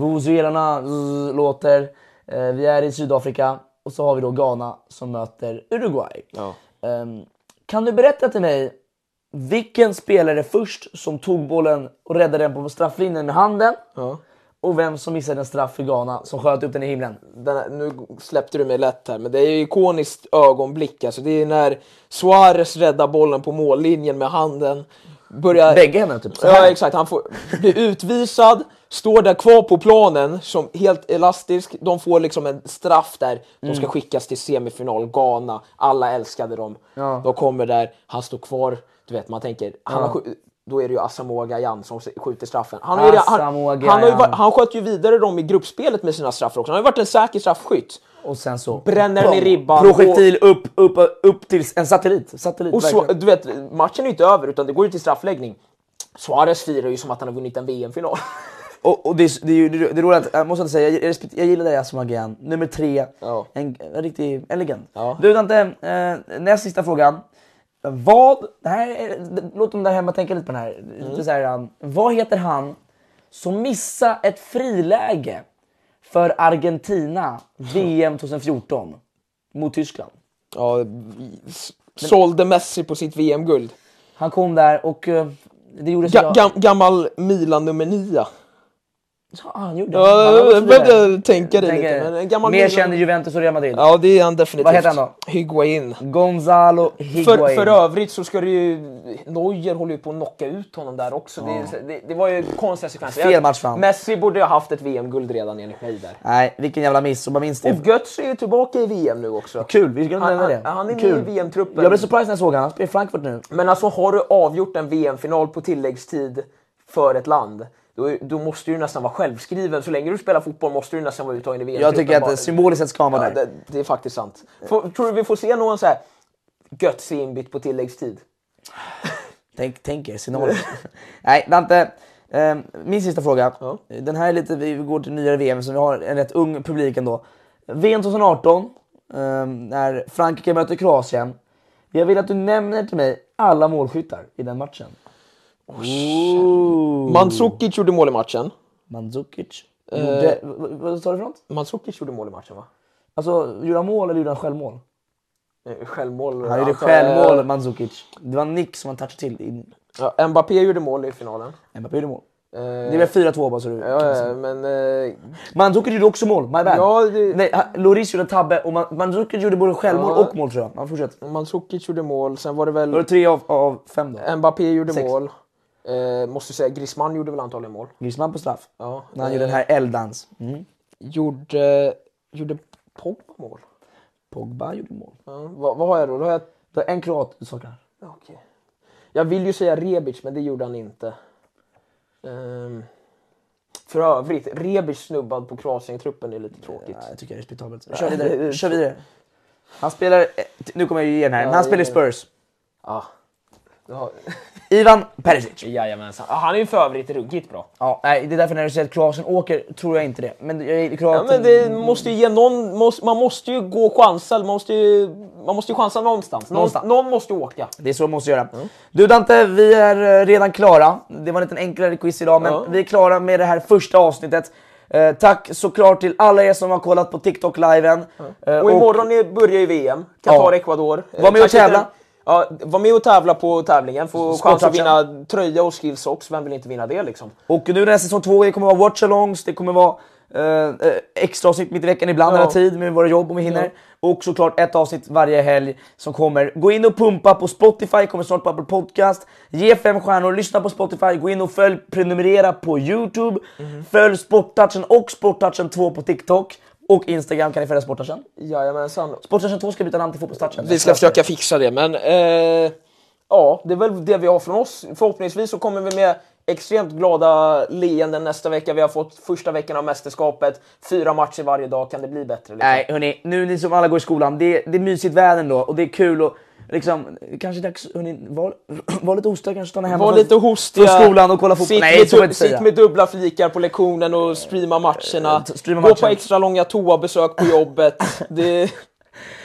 B: Vuvuzelarna zzz, låter, eh, vi är i Sydafrika och så har vi då Ghana som möter Uruguay. Ehm, kan du berätta till mig vilken spelare först som tog bollen och räddade den på strafflinjen med handen och vem som missade en straff för Ghana som sköt upp den i himlen.
A: Den här, nu släppte du mig lätt här, men det är ju ikoniskt ögonblick. Alltså, det är när Suarez räddar bollen på mållinjen med handen. Börjar...
B: Bägge händerna typ. Så här.
A: Ja, exakt. Han får bli utvisad, står där kvar på planen som helt elastisk. De får liksom en straff där. De
B: Mm.
A: ska skickas till semifinal, Ghana. Alla älskade dem.
B: Ja.
A: De kommer där, han står kvar. Du vet, man tänker, han har skj- då är det ju Asamoah Gyan som skjuter straffen. Han, har ju, han,
B: Asamoah
A: han, har ju,
B: Gyan.
A: varit- han sköt ju vidare dem i gruppspelet med sina straffar också. Han har ju varit en säker straffskytt.
B: Och sen så...
A: Bränner den i
B: Boom.
A: ribban.
B: Projektil upp, upp, upp till en satellit. satellit
A: Och så,
B: verkligen.
A: du vet, matchen är ju inte över utan det går ju till straffläggning. Suarez firar ju som att han har vunnit en VM-final.
B: Och, och det, är, det, är, ju- det är roligt, att- jag måste säga, jag, respekt, jag gillar dig Asamoah Gyan. Nummer tre,
A: Ja.
B: en, en riktig en legend.
A: Ja.
B: Du Dante, eh, näst sista frågan. Vad, det här, är- låt dem där hemma tänka lite på den här. Lite så här um, vad heter han som missade ett friläge för Argentina VM 2014 mot Tyskland?
A: Ja, s- sålde Messi på sitt VM-guld.
B: Han kom där och eh, det gjorde så
A: Ga- gam- gammal Milan nummer 9.
B: Ja, han gjorde
A: Ja,
B: Han var också
A: jag behövde
B: friläge.
A: tänka det
B: Tänker-
A: lite, men en gammal
B: Mer
A: Milan-
B: känd i Juventus och Real Madrid.
A: Ja, det är han definitivt.
B: Vad heter han då?
A: Higuain.
B: Gonzalo Higuain.
A: För, för övrigt så ska det ju... Neuer håller ju på att knocka ut honom där också. Det, det, det var ju konstiga sekvenser.
B: Fel match för han.
A: Messi borde ju ha haft ett VM-guld redan enligt mig där.
B: Nej, vilken jävla miss. Och man minns det.
A: Och Götz är ju tillbaka i VM nu också.
B: Kul, vi ska
A: Han-
B: nämna det.
A: han- han är med
B: Kul.
A: i VM-truppen.
B: Jag blev surprised när jag såg honom. Han spelar i Frankfurt nu.
A: Men alltså har du avgjort en VM-final på tilläggstid för ett land, då, då måste du nästan vara självskriven. Så länge du spelar fotboll måste du nästan vara uttagen i VM.
B: Jag tycker att symboliskt sett ska han vara
A: ja,
B: där.
A: det, det är faktiskt sant. Får, tror du vi får se någon så här Götze inbytt på tilläggstid?
B: Tänk, tänk er scenariot. Nej, Dante. eh, Min sista fråga.
A: Ja.
B: Den här är lite, vi går till nyare VM som vi har en rätt ung publik ändå. VM 2018, eh, när Frankrike möter Kroatien. Jag vill att du nämner till mig alla målskyttar i den matchen.
A: Mandzukic gjorde mål i matchen.
B: Mandzukic. Eh, Gjorde, vad- vad sa du för något?
A: Mandzukic gjorde mål i matchen va?
B: Alltså, gjorde han mål eller gjorde han självmål? Alltså, eh,
A: Eh, Självmål.
B: Han gjorde
A: antar
B: självmål, Mandzukic. Det var en nick som han touchade till. in.
A: jag. Ja, Mbappé gjorde mål i finalen.
B: Mbappé gjorde mål.
A: Eh,
B: Det blev 4-2 bara så du...
A: ja, ja, men... eh,
B: Mandzukic gjorde också mål, my bad.
A: Ja, det-
B: Nej, han- Lloris gjorde en tabbe och Man- Mandzukic gjorde både självmål
A: Ja.
B: och mål tror jag. Han fortsätter.
A: Mandzukic gjorde mål, sen var det
B: Då är det
A: väl...
B: tre av, av fem då.
A: Mbappé gjorde
B: Sex.
A: mål. Eh, måste säga, Griezmann gjorde väl antagligen mål.
B: Griezmann på straff.
A: Ja,
B: När han
A: eh,
B: gjorde den här Mm. elddans.
A: Gjorde, gjorde Pogba mål?
B: Pogba gjorde mål.
A: Ja, vad, vad har jag då? då har jag,
B: Det var en kroat du saknar.
A: okej. jag vill ju säga Rebic, men det gjorde han inte. Ehm, för övrigt, Rebic snubbad på Kroatien-truppen är lite tråkigt.
B: Ja, jag tycker det är respektabelt. Kör vidare. Kör vidare. Han spelar, eh, t- nu kommer jag ju ge den här, men han spelar i
A: ge den.
B: Spurs.
A: Ja. Du har-
B: Ivan Perisic.
A: Jajamensan. Ja, han är ju för övrigt ruggigt bra.
B: Ja, nej, det är därför när du säger att Kroatien åker tror jag inte det. Men jag,
A: Ja,
B: Kroatien...
A: men det måste ju ge någon, måste, man måste ju gå och chansa, man måste ju, man måste ju chansa någonstans. Någon,
B: Någonstans.
A: någon måste ju åka.
B: Det är så man måste göra. Du Dante, vi är eh, redan klara. Det var en liten enklare quiz idag, men
A: Ja.
B: vi är klara med det här första avsnittet. Eh, tack såklart till alla er som har kollat på TikTok-liven. Eh,
A: Och imorgon är- börjar ju VM. Qatar,
B: Ja.
A: Ecuador. Eh,
B: Var med och
A: kanske inte-
B: tävla.
A: Ja, var med och tävla på tävlingen. Få chans att
B: Sporttouchen.
A: vinna tröja och skills också. Vem vill inte vinna det liksom?
B: Och nu när säsong två det kommer vara watchalongs, det kommer vara eh, eh, extra avsnitt mitt i veckan ibland,
A: Ja.
B: när vi har tid med våra jobb om vi hinner. Och såklart ett avsnitt varje helg som kommer. Gå in och pumpa på Spotify, kommer snart på Apple Podcast. Ge fem stjärnor, lyssna på Spotify, gå in och följ, prenumerera på Youtube.
A: Mhm.
B: Följ Sporttouchen och Sporttouchen 2 på TikTok. Och Instagram kan ni följa Sporttouchen.
A: Jajamensan.
B: Sporttouchen 2 ska byta namn till Fotbollstouchen.
A: Vi ska försöka fixa det, men... Eh, ja, det är väl det vi har från oss. Förhoppningsvis så kommer vi med extremt glada leenden nästa vecka. Vi har fått första veckan av mästerskapet. Fyra matcher varje dag. Kan det bli bättre? Liksom?
B: Nej hörni, nu ni som alla går i skolan, det, det är mysigt väder då och det är kul och liksom, kanske dags, hörni, var, var lite hostiga kanske stanna hemma
A: Var
B: från-
A: lite hostiga.
B: från skolan och kolla fotboll.
A: Sitt,
B: Nej,
A: med,
B: så får jag
A: du,
B: inte säga.
A: sitt med dubbla flikar på lektionen och streama matcherna.
B: Eh, streama
A: Gå på
B: matchen.
A: extra långa toabesök på jobbet. Det,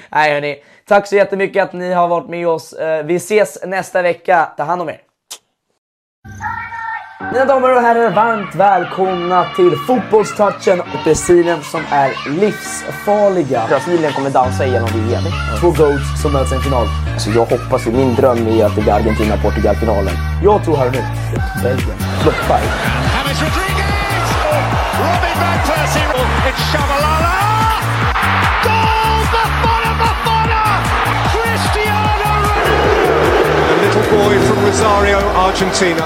B: Nej hörni, tack så jättemycket att ni har varit med oss. Eh, Vi ses nästa vecka, ta hand om er.
E: Mina damer och herrar, varmt välkomna till fotbollstouchen. Brasilien som är livsfarliga.
A: Brasilien kommer dansa igenom VM.
E: Två goats som möts i en final.
A: Alltså jag hoppas ju, min dröm är att det blir Argentina-Portugal-finalen.
E: Jag tror här och nu, Belgien floppar.
H: James Rodriguez! Robin van Persie! It's Shabalala! Goal! Buffon! Buffon! Cristiano Ronaldo! The little boy from Rosario, Argentina.